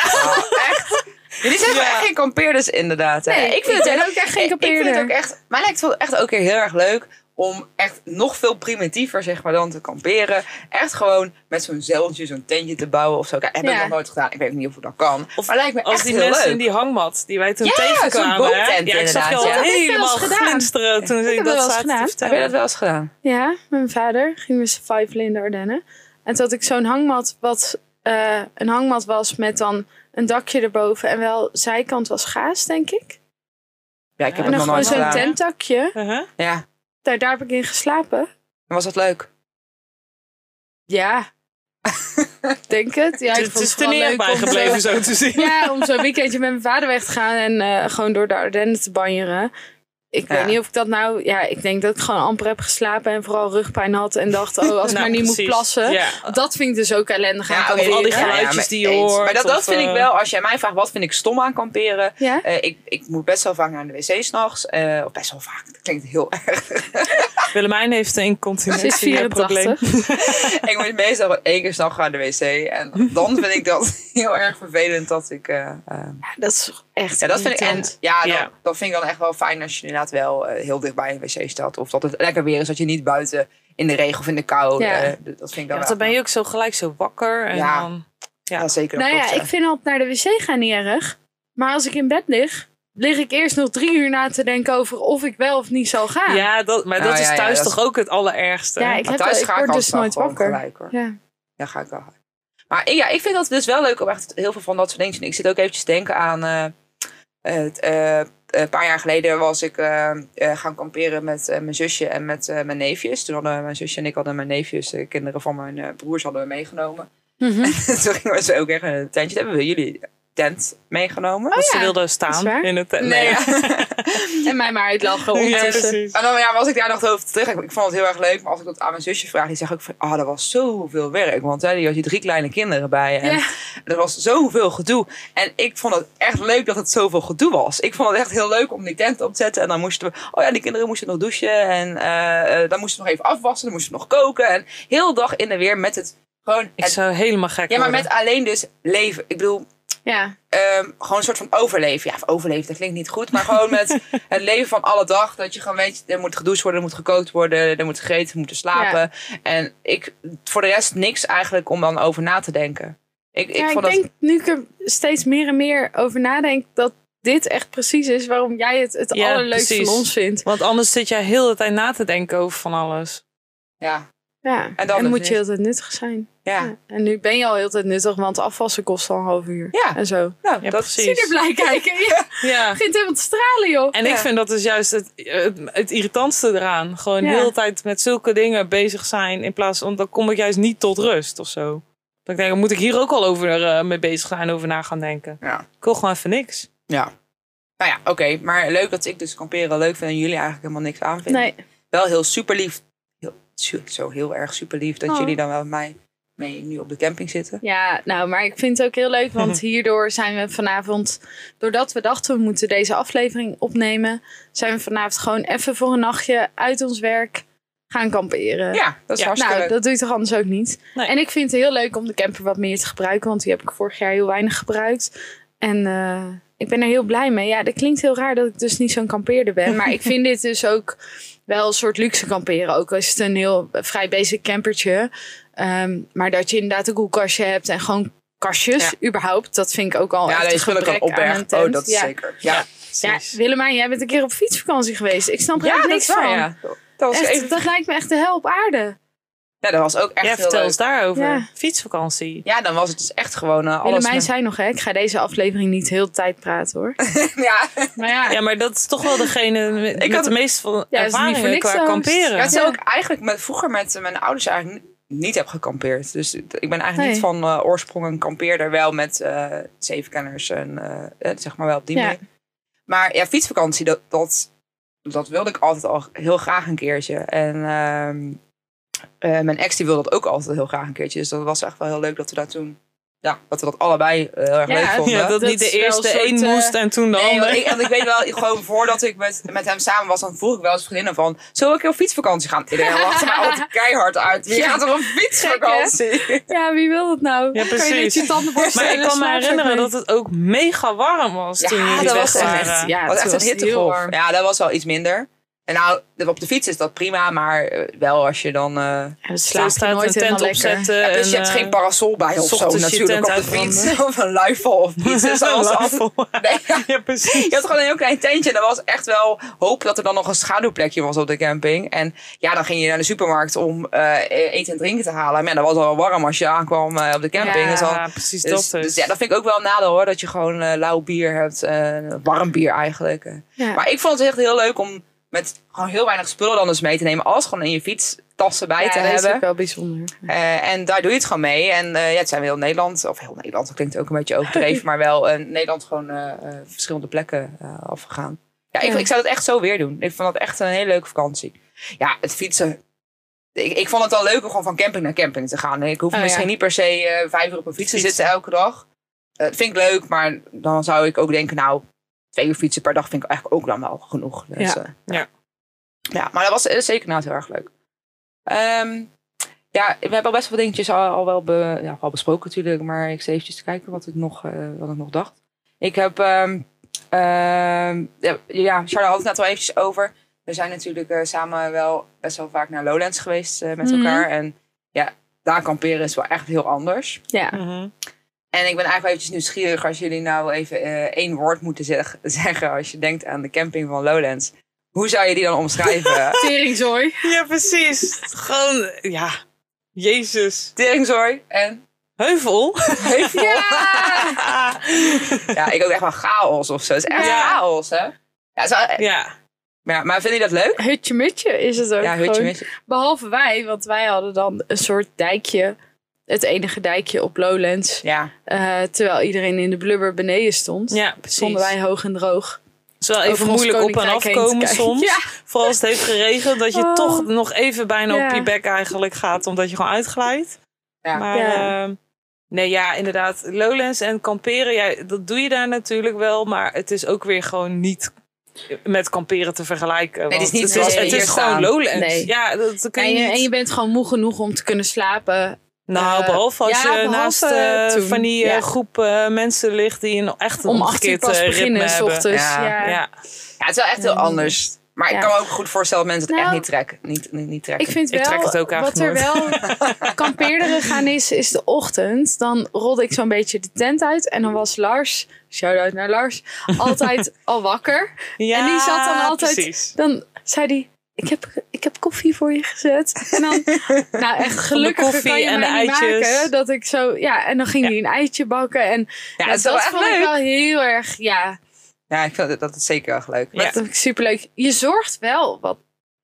B: echt. Jullie zijn
D: Ja.
B: echt geen kampeerders inderdaad. hè?
C: Nee, ik vind het ook echt
B: ik-
C: geen
B: Ik vind
C: kampeerder.
B: het ook echt... Mij lijkt het wel echt ook weer heel erg leuk om echt nog veel primitiever zeg maar dan te kamperen. Echt gewoon met zo'n zeiltje, zo'n tentje te bouwen of zo. Kijk, heb ik
C: Ja.
B: nog nooit gedaan. Ik weet ook niet of het dat kan.
D: Of
B: maar lijkt me
D: Als
B: echt
D: die
B: heel
D: mensen
B: leuk.
D: in die hangmat die wij toen
B: Ja, zo'n
D: tegenkwamen. hè?
B: boomtent
D: ja, ik zag
B: inderdaad, ja.
D: jou al
C: Dat heb ik wel
D: helemaal
C: eens gedaan.
D: glinsteren toen ik
C: heb
D: dat
C: dat wel eens
D: zat te
C: gedaan.
B: Heb je dat
D: vertellen.
B: wel eens gedaan?
C: Ja, met mijn vader gingen we survivalen in de Ardennen. En toen had ik zo'n hangmat, wat eh, een hangmat was met dan een dakje erboven. En wel zijkant was gaas, denk ik.
B: Ja, ik heb het
C: en dan
B: nog
C: gewoon
B: nooit
C: zo'n
B: gedaan.
C: tentdakje.
D: Uh-huh.
B: Ja,
C: Daar, daar heb ik in geslapen.
B: en was dat leuk?
C: Ja, ik denk het. Ja, ik
D: Het
C: vond
D: is
C: het
D: ten
C: gewoon
D: neer
C: leuk om
D: bijgebleven
C: zo,
D: zo te zien.
C: ja, om zo'n weekendje met mijn vader weg te gaan en eh, gewoon door de Ardennen te banjeren. Ik
B: Ja.
C: weet niet of ik dat nou... Ja, ik denk dat ik gewoon amper heb geslapen en vooral rugpijn had. En dacht, oh, als ik maar
D: Nou,
C: niet moet
D: precies.
C: plassen.
D: Ja.
C: Dat vind ik dus ook ellendig aan
B: oké,
C: kamperen.
D: al die
B: ja, ja,
D: geluidjes
B: maar
D: die je
B: eens.
D: hoort,
B: Maar dat, dat
D: of,
B: vind ik
D: eh,
B: wel, als jij mij vraagt wat vind ik stom aan kamperen.
C: Ja?
B: eh, ik, ik moet best wel vaak naar de wc s'nachts. eh of best wel vaak, dat klinkt heel erg.
D: Willemijn heeft
C: Ze
D: een
C: is
D: incontinentieprobleem.
C: 84.
B: ik moet meestal gewoon één keer s'nachts naar de wc. En dan vind ik dat heel erg vervelend dat ik... eh, eh,
C: Ja, dat is echt.
B: ja, dat vind ik, en,
C: irritant.
B: ja, dan,
D: Ja.
B: dat vind ik dan echt wel fijn als je inderdaad wel eh, heel dichtbij een wc staat. Of dat het lekker weer is, dat je niet buiten in de regen of in de kou...
C: Ja.
B: eh, d- dat vind ik dan
D: Ja, want
B: wel-
D: dan ben je ook zo gelijk zo wakker. En
B: Ja.
D: dan,
B: ja. zeker. dat
C: Nou ja,
B: klopt,
C: ik vind altijd naar de wc gaan niet erg. Maar als ik in bed lig, lig ik eerst nog drie uur na te denken over of ik wel of niet zal gaan.
D: ja dat, maar dat
B: Nou, ja,
D: is
B: ja,
D: thuis
B: dat is-
D: toch ook het allerergste.
C: Ja, ik,
B: Maar
C: heb
B: thuis
C: wel- ik
B: ga ik
C: word
B: altijd
C: dus
B: wel
C: nooit
B: gewoon
C: wakker.
B: gelijk, hoor.
C: Ja.
B: Daar ga ik wel hard. Maar ja, ik vind dat dus wel leuk om echt heel veel van dat soort dingen te doen. Ik zit ook eventjes te denken aan... eh, het, eh, een paar jaar geleden was ik eh, eh, gaan kamperen met eh, mijn zusje en met eh, mijn neefjes. Toen hadden mijn zusje en ik hadden mijn neefjes, de kinderen van mijn eh, broers, hadden we meegenomen.
C: Mhm.
B: Toen gingen we ze ook echt in een tentje. Toen Hebben we jullie tent meegenomen?
D: Want ze
C: ja,
D: wilden
C: is
D: staan
C: waar.
D: in het tent.
B: ja.
C: En mij maar uitlachen
D: Ja,
C: ondertussen.
D: precies.
B: En dan ja, was ik daar nog over terug. Ik, ik vond het heel erg leuk. Maar als ik dat aan mijn zusje vraag, die zegt ook van... Ah, dat was zoveel werk. Want hè, die had je drie kleine kinderen bij. En
C: Ja.
B: er was zoveel gedoe. En ik vond het echt leuk dat het zoveel gedoe was. Ik vond het echt heel leuk om die tent op te zetten. En dan moesten we... Oh ja, die kinderen moesten nog douchen. En eh, eh, dan moesten we nog even afwassen. Dan moesten we nog koken. En heel dag in en weer met het... Gewoon
D: Ik
B: het-
D: zou helemaal gek
B: ja, maar met
D: worden.
B: alleen dus leven. Ik bedoel,
C: ja.
B: ehm, gewoon een soort van overleven. Ja, overleven, dat klinkt niet goed. Maar gewoon met het leven van alle dag. Dat je gewoon weet, er moet gedoucht worden, er moet gekookt worden, er moet gegeten, er moet slapen. En ik, voor de rest niks eigenlijk om dan over na te denken. Ik, ik
C: Ja,
B: vond dat,
C: ik denk nu ik er steeds meer en meer over nadenk dat dit echt precies is waarom jij het het
D: Ja,
C: allerleukste
D: precies.
C: van ons vindt.
D: Want anders zit jij heel de tijd na te denken over van alles.
B: ja,
C: Ja.
B: En
C: En,
B: dan het
C: moet
B: niet.
C: je heel de tijd nuttig zijn.
B: ja,
C: Ja. En nu ben je al heel de tijd nuttig, want afwassen kost al een half uur.
B: Ja.
C: En zo.
B: nou,
D: Ja,
B: dat
D: precies.
C: Zie je er blij kijken. Je
D: Ja.
C: begint helemaal te stralen, joh.
D: En ik
B: Ja.
D: vind dat is juist het, het, het irritantste eraan. Gewoon
C: Ja.
D: de hele tijd met zulke dingen bezig zijn. In plaats van, dan kom ik juist niet tot rust of zo. Dat ik denk, moet ik hier ook al over eh, mee bezig zijn, over na gaan denken.
B: Ja.
D: Ik wil gewoon even niks.
B: ja. Nou ja, oké. maar leuk dat ik dus kamperen leuk vind en jullie eigenlijk helemaal niks aan vinden.
C: Nee,
B: Wel heel super lief. Heel, su- zo heel erg super lief dat
C: Oh.
B: jullie dan wel met mij mee nu op de camping zitten.
C: ja, nou, maar ik vind het ook heel leuk, want hierdoor zijn we vanavond, doordat we dachten we moeten deze aflevering opnemen, zijn we vanavond gewoon even voor een nachtje uit ons werk gaan kamperen.
B: Ja, dat is
D: Ja.
B: hartstikke
C: Nou,
B: leuk.
C: dat doe je toch anders ook niet?
D: Nee.
C: En ik vind het heel leuk om de camper wat meer te gebruiken, want die heb ik vorig jaar heel weinig gebruikt. En eh, ik ben er heel blij mee. Ja, dat klinkt heel raar dat ik dus niet zo'n kampeerder ben, maar ik vind dit dus ook wel een soort luxe kamperen. Ook als het een heel eh, vrij basic campertje. Ehm, maar dat je inderdaad een koelkastje hebt en gewoon kastjes, überhaupt. Dat vind ik ook al
B: Ja,
C: Oh, echt
B: deze
C: een
B: spullen kan
C: gebrek aan
B: opbergen.
C: een tent.
B: Oh, dat is
C: ja.
B: zeker. Ja,
C: Ja,
D: Precies.
C: Willemijn, jij bent een keer op fietsvakantie geweest. Ik snap er echt niks van.
B: Dat was,
C: Echt,
B: even,
C: Dat lijkt me echt de hel op aarde.
B: ja, dat was ook echt
D: ja,
B: heel
D: vertel
B: leuk.
D: eens daarover.
C: Ja.
D: Fietsvakantie.
B: Ja, dan was het dus echt gewoon eh, alles.
C: Willemijn
B: met-
C: zei nog, hè, ik ga deze aflevering niet heel de tijd praten hoor.
B: ja.
C: Maar ja,
D: Ja, maar dat is toch wel degene met, met
B: had-
D: de meeste van
C: niet voor
D: ervaringen
C: niks
D: qua
C: zo.
D: kamperen.
B: ja,
D: Ja,
B: terwijl ik eigenlijk met, vroeger met eh, mijn ouders eigenlijk ni- niet heb gekampeerd. Dus het- ik ben eigenlijk
C: Nee.
B: niet van eh, oorsprong een kampeerder. Wel met eh zevenkenners en eh, eh, zeg maar wel op die
C: Ja.
B: manier. Maar ja, fietsvakantie, dat, dat, dat wilde ik altijd al heel graag een keertje. En ehm, eh, mijn ex die wilde dat ook altijd heel graag een keertje. Dus dat was echt wel heel leuk dat we daar toen ja, dat we dat allebei eh, heel erg
C: Ja,
B: leuk vonden.
D: Ja, dat,
C: Dat
D: niet de
C: is wel
D: eerste
C: een soort,
D: één
C: eh,
D: moest en toen de
B: Nee,
D: ander.
B: want ik, want ik weet wel, gewoon voordat ik met, met hem samen was, dan vroeg ik wel eens vriendinnen van... Zullen we een keer op fietsvakantie gaan? Iedereen lachte me altijd keihard uit. Wie
C: Ja.
B: gaat er op fietsvakantie?
C: Ja, wie wil dat nou?
D: Ja,
C: Kan je
D: precies.
C: niet je tandenborstel
D: Maar
C: en
D: ik
C: een
D: kan me
C: slaapzak
D: herinneren
C: mee?
D: dat het ook mega warm was
B: Ja,
D: toen jullie
B: dat
D: weg
B: was echt-
D: waren.
C: ja,
B: dat was
C: toen
B: echt een
C: was het heel
B: hittegolf.
C: warm.
B: Ja, dat was wel iets minder. En nou, op de fiets is dat prima, maar eh, wel als je dan... eh,
C: Ja, dan
D: Zo
C: slaap je
D: Dus staat een
C: nooit
D: tent
C: helemaal lekker. dus
D: opzetten.
B: Ja, plus je
D: en,
B: hebt
D: eh,
B: geen parasol bij of zo
D: ochtends je
B: natuurlijk op
D: tent
B: de fiets. Of een luifel of iets. Dus dat was altijd-
D: Lafel.
B: Nee, ja.
D: Ja, precies.
B: Je had gewoon een heel klein tentje. En er was echt wel hoop dat er dan nog een schaduwplekje was op de camping. En ja, dan ging je naar de supermarkt om eh, eten en drinken te halen. Maar ja, dat was al wel warm als je aankwam eh, op de camping.
C: Ja,
B: dus, dan-
D: Ja, precies
B: dus,
D: dat
B: dus
D: dus.
B: ja, dat vind ik ook wel een nadeel hoor. Dat je gewoon eh, lauw bier hebt. eh, warm bier eigenlijk. eh.
C: Ja.
B: Maar ik vond het echt heel leuk om met gewoon heel weinig spullen dan dus mee te nemen. Alles gewoon in je fietstassen bij
C: Ja,
B: te
C: dat is
B: hebben.
C: ook wel bijzonder.
B: Eh, en daar doe je het gewoon mee. En eh, ja, het zijn we heel Nederland, of heel Nederland, dat klinkt ook een beetje overdreven, maar wel eh, Nederland gewoon eh, eh, verschillende plekken eh, afgegaan. Ja, ik,
C: Ja.
B: ik zou dat echt zo weer doen. Ik vond dat echt een hele leuke vakantie. Ja, het fietsen. Ik, ik vond het al leuk om gewoon van camping naar camping te gaan. Ik hoef
C: Oh, ja.
B: misschien niet per se eh, vijf uur op een fiets te zitten elke dag. Eh, dat vind ik leuk, maar dan zou ik ook denken, nou, twee uur fietsen per dag vind ik eigenlijk ook dan wel genoeg. Dus,
C: Ja.
B: eh,
D: Ja.
B: ja, maar dat was eh, zeker nou heel erg leuk. Ehm, ja, we hebben al best wel dingetjes al, al wel be- ja, al besproken natuurlijk. Maar ik zit eventjes te kijken wat ik nog, eh, wat ik nog dacht. Ik heb... ehm, ehm, ja, ja, Charlotte had het net al eventjes over. We zijn natuurlijk eh, samen wel best wel vaak naar Lowlands geweest eh, met
C: Mhm.
B: elkaar. En ja, daar kamperen is wel echt heel anders.
C: Ja.
D: Mhm.
B: En ik ben eigenlijk wel eventjes nieuwsgierig als jullie nou even eh, één woord moeten zeg- zeggen als je denkt aan de camping van Lowlands. Hoe zou je die dan omschrijven?
C: Teringzooi.
D: Ja, precies. Gewoon, ja. Jezus.
B: Teringzooi en
D: Heuvel.
B: heuvel.
C: Ja!
B: Ja, ik ook echt wel chaos of zo. Het is echt
D: Ja.
B: chaos, hè? Ja, het is wel-
D: ja.
B: maar, maar vind je dat leuk?
C: Hutje mutje is het ook
B: Ja, hutje
C: gewoon.
B: met
C: Behalve wij, want wij hadden dan een soort dijkje. Het enige dijkje op Lowlands.
B: Ja.
C: eh, terwijl iedereen in de blubber beneden stond.
D: ja, precies.
C: stonden wij hoog en droog.
D: Het is wel even
C: over ons
D: moeilijk op en
C: koninkrijk heen te
D: afkomen
C: kijken.
D: soms.
C: Ja.
D: Vooral als het heeft geregend, dat je
C: Oh.
D: toch nog even bijna
C: Ja.
D: op je bek eigenlijk gaat, omdat je gewoon uitglijdt.
B: Ja.
D: Maar
C: Ja.
D: ehm, nee, ja, inderdaad. Lowlands en kamperen, ja, dat doe je daar natuurlijk wel, maar het is ook weer gewoon niet met kamperen te vergelijken.
B: het is
D: want
B: niet
D: het
B: zoals
D: is,
B: we
D: het
B: hier
D: is gewoon
B: staan.
D: Lowlands.
C: Nee.
D: Ja, dat, dat kun je
C: En je, en
D: niet-
C: je bent gewoon moe genoeg om te kunnen slapen.
D: nou,
C: eh,
D: behalve als
C: ja,
D: je
C: behalve
D: naast eh,
C: toen,
D: van die eh,
C: ja.
D: groep eh, mensen ligt die een echt een
C: Om acht uur
D: omgekeerd
C: pas
D: eh, ritme
C: beginnen, s
D: hebben.
C: ochtends.
B: Ja.
C: Ja.
D: Ja.
B: ja, het is wel echt heel anders. Maar
C: Ja.
B: ik kan me ook goed voorstellen dat mensen het
C: Nou,
B: echt niet trekken. Niet, niet, niet trekken.
C: Ik vind
D: Ik
C: wel,
D: trek het ook
C: wat er
D: eigenlijk
C: wel kampeerderig aan is, is de ochtend. Dan rolde ik zo'n beetje de tent uit. En dan was Lars, shout-out naar Lars, altijd al wakker.
D: Ja,
C: En die zat dan altijd-
D: Precies.
C: Dan zei hij, ik heb, ik heb koffie voor je gezet. En dan, nou echt gelukkig
D: koffie
C: kan je
D: en
C: mij
D: de
C: niet
D: eitjes.
C: maken. Dat ik zo, ja, en dan ging hij een eitje bakken. En
B: ja,
C: nou,
B: het is wel
C: dat
B: echt
C: vond ik
B: leuk.
C: wel heel erg, ja,
B: Ja, ik vind dat, dat is zeker erg leuk.
D: Ja.
C: dat vond ik superleuk. Je zorgt wel wat,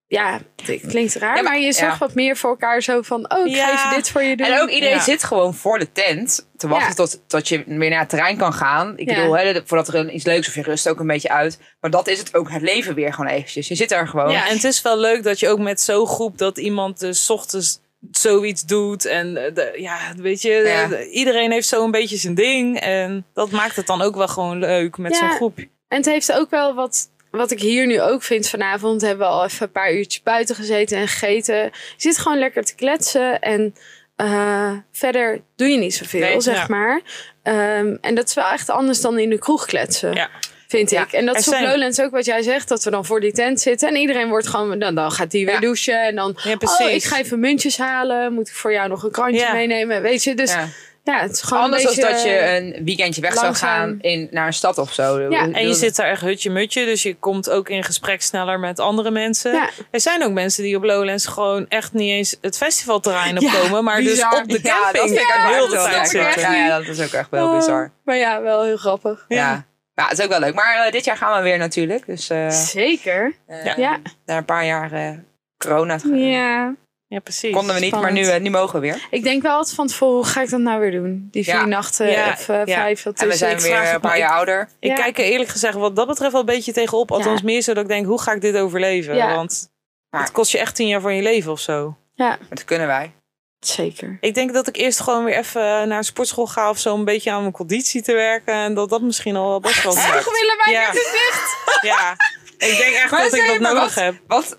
C: ja, het klinkt raar,
B: Ja, maar-
C: maar je zorgt
B: ja.
C: wat meer voor elkaar. Zo van, oh, ik
D: Ja.
C: ga even dit voor je doen.
B: En ook iedereen
D: Ja.
B: zit gewoon voor de tent te wachten
C: Ja.
B: tot, tot je weer naar het terrein kan gaan. Ik
C: Ja.
B: bedoel, hè, dat- voordat er iets leuks of je rust ook een beetje uit. Maar dat is het ook het leven weer gewoon eventjes. Je zit er gewoon.
D: Ja, en het is wel leuk dat je ook met zo'n groep dat iemand dus 's ochtends zoiets doet. En eh, de- ja, weet je,
B: Ja.
D: eh, iedereen heeft zo een beetje zijn ding. En dat maakt het dan ook wel gewoon leuk met
C: Ja.
D: zo'n groep.
C: En het heeft ook wel wat, wat ik hier nu ook vind. Vanavond hebben we al even een paar uurtjes buiten gezeten en gegeten. Je zit gewoon lekker te kletsen en eh, verder doe je niet zoveel,
D: Nee,
C: zeg
D: ja.
C: maar. Ehm, en dat is wel echt anders dan in de kroeg kletsen.
D: Ja.
C: Vind
B: Ja.
C: ik. En dat
D: Er
C: is op
D: zijn-
C: Lowlands ook wat jij zegt. Dat we dan voor die tent zitten. En iedereen wordt gewoon... nou, Dan, dan gaat die weer
B: Ja.
C: douchen. En dan...
D: Ja,
C: Oh, ik ga even muntjes halen. Moet ik voor jou nog een krantje
D: Ja.
C: meenemen? Weet je, dus ja.
B: Ja.
C: het is gewoon
B: Anders
C: een
B: dan
C: beetje... eh,
B: dat je eh, een weekendje weg zou
C: langzaam.
B: gaan in, naar een stad of zo.
C: Ja,
D: En je zit daar echt hutje-mutje, dus je komt ook in gesprek sneller met andere mensen.
C: Ja.
D: Er zijn ook mensen die op Lowlands gewoon echt niet eens het festivalterrein op
C: Ja,
D: komen, maar dus
C: bizar.
D: op de
B: Ja, dat
D: camping
B: vind ik ook
D: heel
B: heel
D: de
B: leuk.
D: tijd
C: lekker.
D: zitten.
B: Ja, ja, dat is ook echt
D: Oh,
B: wel heel bizar.
C: Oh, Maar ja, wel heel grappig.
B: Ja. ja. het is ook wel leuk. Maar eh, dit jaar gaan we weer natuurlijk. Dus eh,
C: Zeker.
B: eh,
D: Ja.
C: Ja.
B: na een paar jaar eh, corona
C: Ja.
D: Ja, precies.
B: konden we niet, maar nu,
C: Spannend.
B: eh, nu mogen we
D: Dus
B: weer.
C: Ik denk wel altijd van tevoren, hoe ga ik dat nou weer doen? Die vier
B: Ja.
C: nachten
D: Ja,
C: of eh,
D: ja.
C: vijf, dat
B: En we
C: is
B: zijn
D: ik
B: weer
D: vraag
B: eh, een
D: het me-
B: paar jaar ouder.
D: Ik
C: Ja.
D: kijk er eerlijk gezegd wat dat betreft wel een beetje tegenop. Althans
C: Ja.
D: meer zodat ik denk, hoe ga ik dit overleven?
C: Ja.
D: Want
B: Maar-
D: het kost je echt tien jaar van je leven of zo.
B: Maar dat kunnen wij.
C: Zeker.
D: Ik denk dat ik eerst gewoon weer even naar een sportschool ga of zo. Een beetje aan mijn conditie te werken. En dat dat misschien al wel best wel
B: Echt,
D: helpt.
B: willen
D: Ja. Ja. Ik denk echt
B: Maar
D: dat ik
B: zei
D: dat
B: je maar
D: nodig
B: wat?
D: heb.
B: Wat?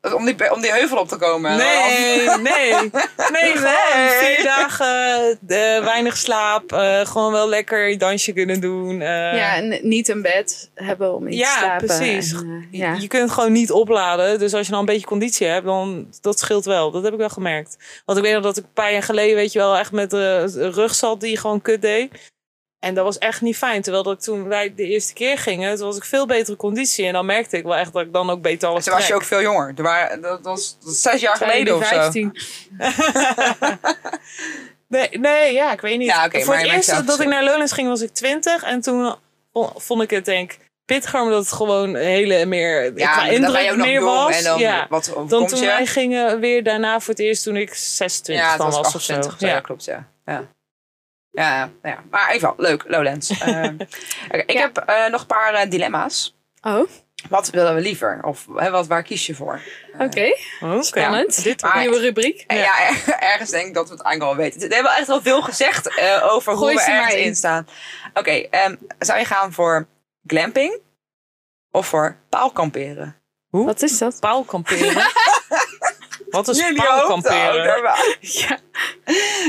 B: eh, Om die, om die heuvel op te komen?
D: Nee, nee. Nee, gewoon vier dagen, eh, weinig slaap. eh, gewoon wel lekker je dansje kunnen doen. eh.
C: ja, en niet een bed hebben om in
D: Ja,
C: te slapen.
D: precies.
C: En, eh,
D: Je-
C: ja.
D: Je kunt gewoon niet opladen. Dus als je dan een beetje conditie hebt, dan dat scheelt wel. Dat heb ik wel gemerkt. Want ik weet nog dat ik een paar jaar geleden, weet je wel, echt met de rug zat die gewoon kut deed. En dat was echt niet fijn. Terwijl dat ik toen wij de eerste keer gingen, toen was ik veel betere conditie. En dan merkte ik wel echt dat ik dan ook beter alles
B: Toen was je
D: trek.
B: ook veel jonger. Er waren- Dat was, dat was zes jaar geleden of zo.
D: nee, nee, ja, ik weet niet.
B: Ja, oké,
D: Voor
B: maar
D: het
B: je merkt
D: eerst
B: zelf
D: dat ik naar Lowlands ging was ik 20 en toen vo- vond ik het denk ik pittiger omdat het gewoon hele meer
B: Ja, maar dan
D: qua
B: ga je
D: indruk
B: ook nog
D: meer
B: jong
D: was.
B: en dan
D: ja.
B: wat
D: Dan
B: overkomt
D: toen
B: je?
D: wij gingen weer daarna voor het eerst toen ik 26
B: ja,
D: dan
B: het
D: was,
B: was
D: of zo.
B: 28 of zo. Ja,
D: Ja.
B: klopt, ja. ja. Ja, ja, ja. maar even wel. Leuk, Lowlands. Eh, oké, ik
C: Ja.
B: heb eh, nog een paar eh, dilemma's.
C: Oh,
B: Wat willen we liever? Of hè, wat, waar kies je voor?
C: oké.
D: Oké.
C: Spannend.
D: Dit
B: Maar-
C: Nieuwe rubriek.
B: En ja, ergens denk ik dat we het eigenlijk al weten. We hebben echt al veel gezegd eh, over hoe
C: Gooi
B: we
C: ze maar
B: ergens
C: in.
B: in staan. Oké, ehm, zou je gaan voor glamping of voor paalkamperen?
C: Wat is dat?
D: paal kamperen. Wat is
B: Jullie
D: paal
B: hoofd Oh, houden,
D: kamperen?
B: maar-
C: Ja.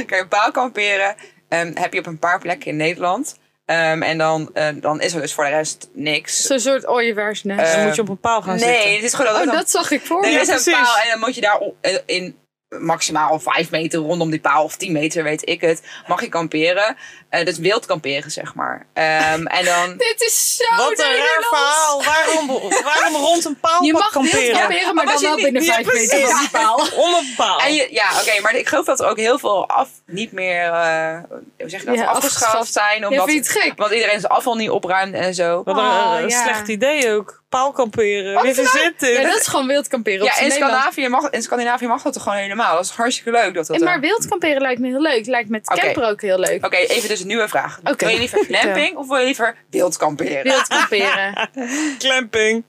B: Oké, paalkamperen ehm, heb je op een paar plekken in Nederland. Ehm, en dan, ehm, dan is er dus voor de rest niks.
C: Zo'n soort ooievaarsnest.
B: Eh,
D: Dan moet je op een paal gaan
B: nee,
D: zitten.
B: het is gewoon dat,
C: oh,
B: dan-
C: dat zag ik voor
B: Nee,
C: me.
B: er is een
D: precies.
B: paal en dan moet je daar o- eh, in maximaal 5 meter rondom die paal of 10 meter, weet ik het, mag je kamperen. Eh dus wild kamperen, zeg maar. Ehm, en dan...
C: Dit is zo
D: Wat een raar
C: Nederlands.
D: verhaal. Waarom, waarom rond een paal
C: Je mag wild
D: kamperen?
C: kamperen, maar
B: Maar
C: dan
B: als je
C: wel
B: niet-
C: binnen
D: ja,
C: vijf meter van die
D: precies.
C: paal.
D: Om een paal.
B: En je, ja, oké, maar ik geloof dat er ook heel veel af, niet meer, eh, hoe zeg je dat,
C: Ja,
B: afgeschaft
C: afgeschaft.
B: zijn.
C: Je
B: Omdat,
C: vindt het gek.
B: want iedereen zijn afval niet opruimt en zo. Ah.
D: Wat een,
C: Oh,
D: een
C: ja.
D: slecht idee ook. Paal kamperen. Wie verzint dit?
C: Ja, dat is gewoon wild kamperen op
B: Ja,
C: zijn
B: in
C: Nederlands.
B: Scandinavië, mag, in Scandinavië mag dat toch gewoon helemaal. Dat is hartstikke leuk. Dat dat
C: En maar
B: eh.
C: wild kamperen lijkt me heel leuk. Lijkt me het
B: Oké.
C: camper ook heel leuk.
B: Oké, even dus een nieuwe vraag.
C: Oké.
B: Wil je liever glamping of wil je liever wild kamperen?
C: Wild kamperen.
D: Klemping.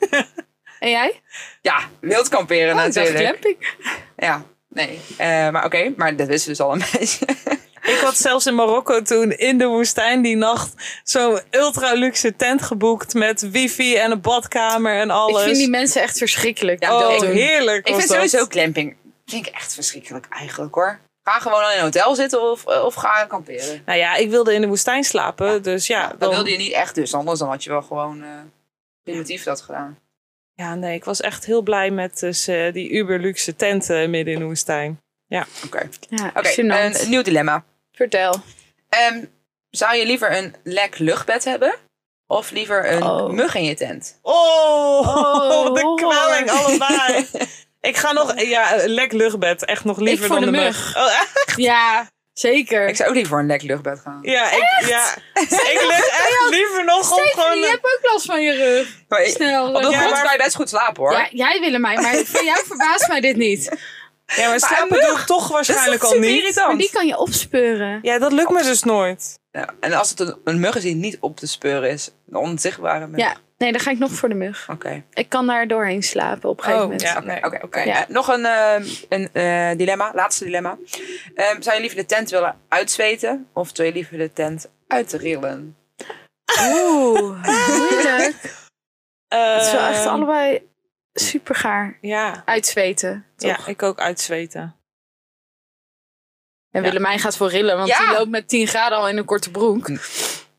C: En jij?
B: Ja, wild kamperen
C: Oh, ik dacht
B: natuurlijk.
C: glamping.
B: Ja, nee. Eh, maar oké, maar dat wisten we dus al een beetje.
D: Ik had zelfs in Marokko toen in de woestijn die nacht zo'n ultra luxe tent geboekt met wifi en een badkamer en alles.
C: Ik vind die mensen echt verschrikkelijk.
B: Ja,
D: oh,
B: ik-
D: heerlijk
B: ik
D: was
B: vind
D: dat.
B: sowieso glamping vind ik echt verschrikkelijk eigenlijk hoor. Ga gewoon in een hotel zitten of, eh, of ga kamperen.
D: Nou ja, ik wilde in de woestijn slapen, dus ja.
B: Dat
D: dan-
B: wilde je niet echt dus, anders dan had je wel gewoon eh, primitief dat gedaan.
D: Ja, nee, ik was echt heel blij met dus, eh, die uber luxe tent eh, midden in de woestijn.
B: Oké,
C: Ja,
B: Oké,
C: gênant.
B: een, nieuw dilemma.
C: Vertel.
B: Ehm, zou je liever een lek luchtbed hebben of liever een
C: Oh.
B: mug in je tent?
D: Oh,
C: Oh,
D: de
C: horror.
D: kwelling allebei. ik ga nog, ja, een lek luchtbed, echt nog liever
C: voor
D: dan
C: de
D: de
C: mug.
D: mug. Oh,
C: Ja, zeker.
B: Ik zou ook liever voor een lek luchtbed gaan.
D: Ja, ik, ja. ik lig echt liever nog op gewoon...
C: Stephanie, je hebt ook last van je rug.
B: Maar ik-
C: Snel.
B: op de
C: ja,
B: grond
D: maar-
B: kan je best goed slapen hoor.
C: ja, jij willen mij, maar voor jou verbaast mij dit niet.
D: Ja, maar slapen doe ik toch waarschijnlijk
B: Dat is
D: al
B: super
D: niet.
B: irritant.
C: Maar die kan je opspeuren.
D: Ja, dat lukt me dus nooit.
B: Ja, en als het een, een mug is die niet op te speuren is, een onzichtbare mug.
C: Ja, nee, dan ga ik nog voor de mug.
B: Oké.
C: Ik kan daar doorheen slapen op een gegeven moment.
D: Oh, ja.
B: Oké,
D: nee.
B: oké, oké.
C: Ja.
B: Eh, Nog een, ehm, een eh, dilemma, laatste dilemma. Ehm, zou je liever de tent willen uitzweten of zou je liever de tent uitrillen?
C: Oeh, moeilijk. Het is wel echt
D: Ehm,
C: allebei super gaar.
D: Ja,
C: Uitzweten.
D: ja, ik ook uitzweten.
C: En
D: Ja.
C: Willemijn gaat voor rillen, want
B: Ja.
C: die loopt met 10 graden al in een korte broek.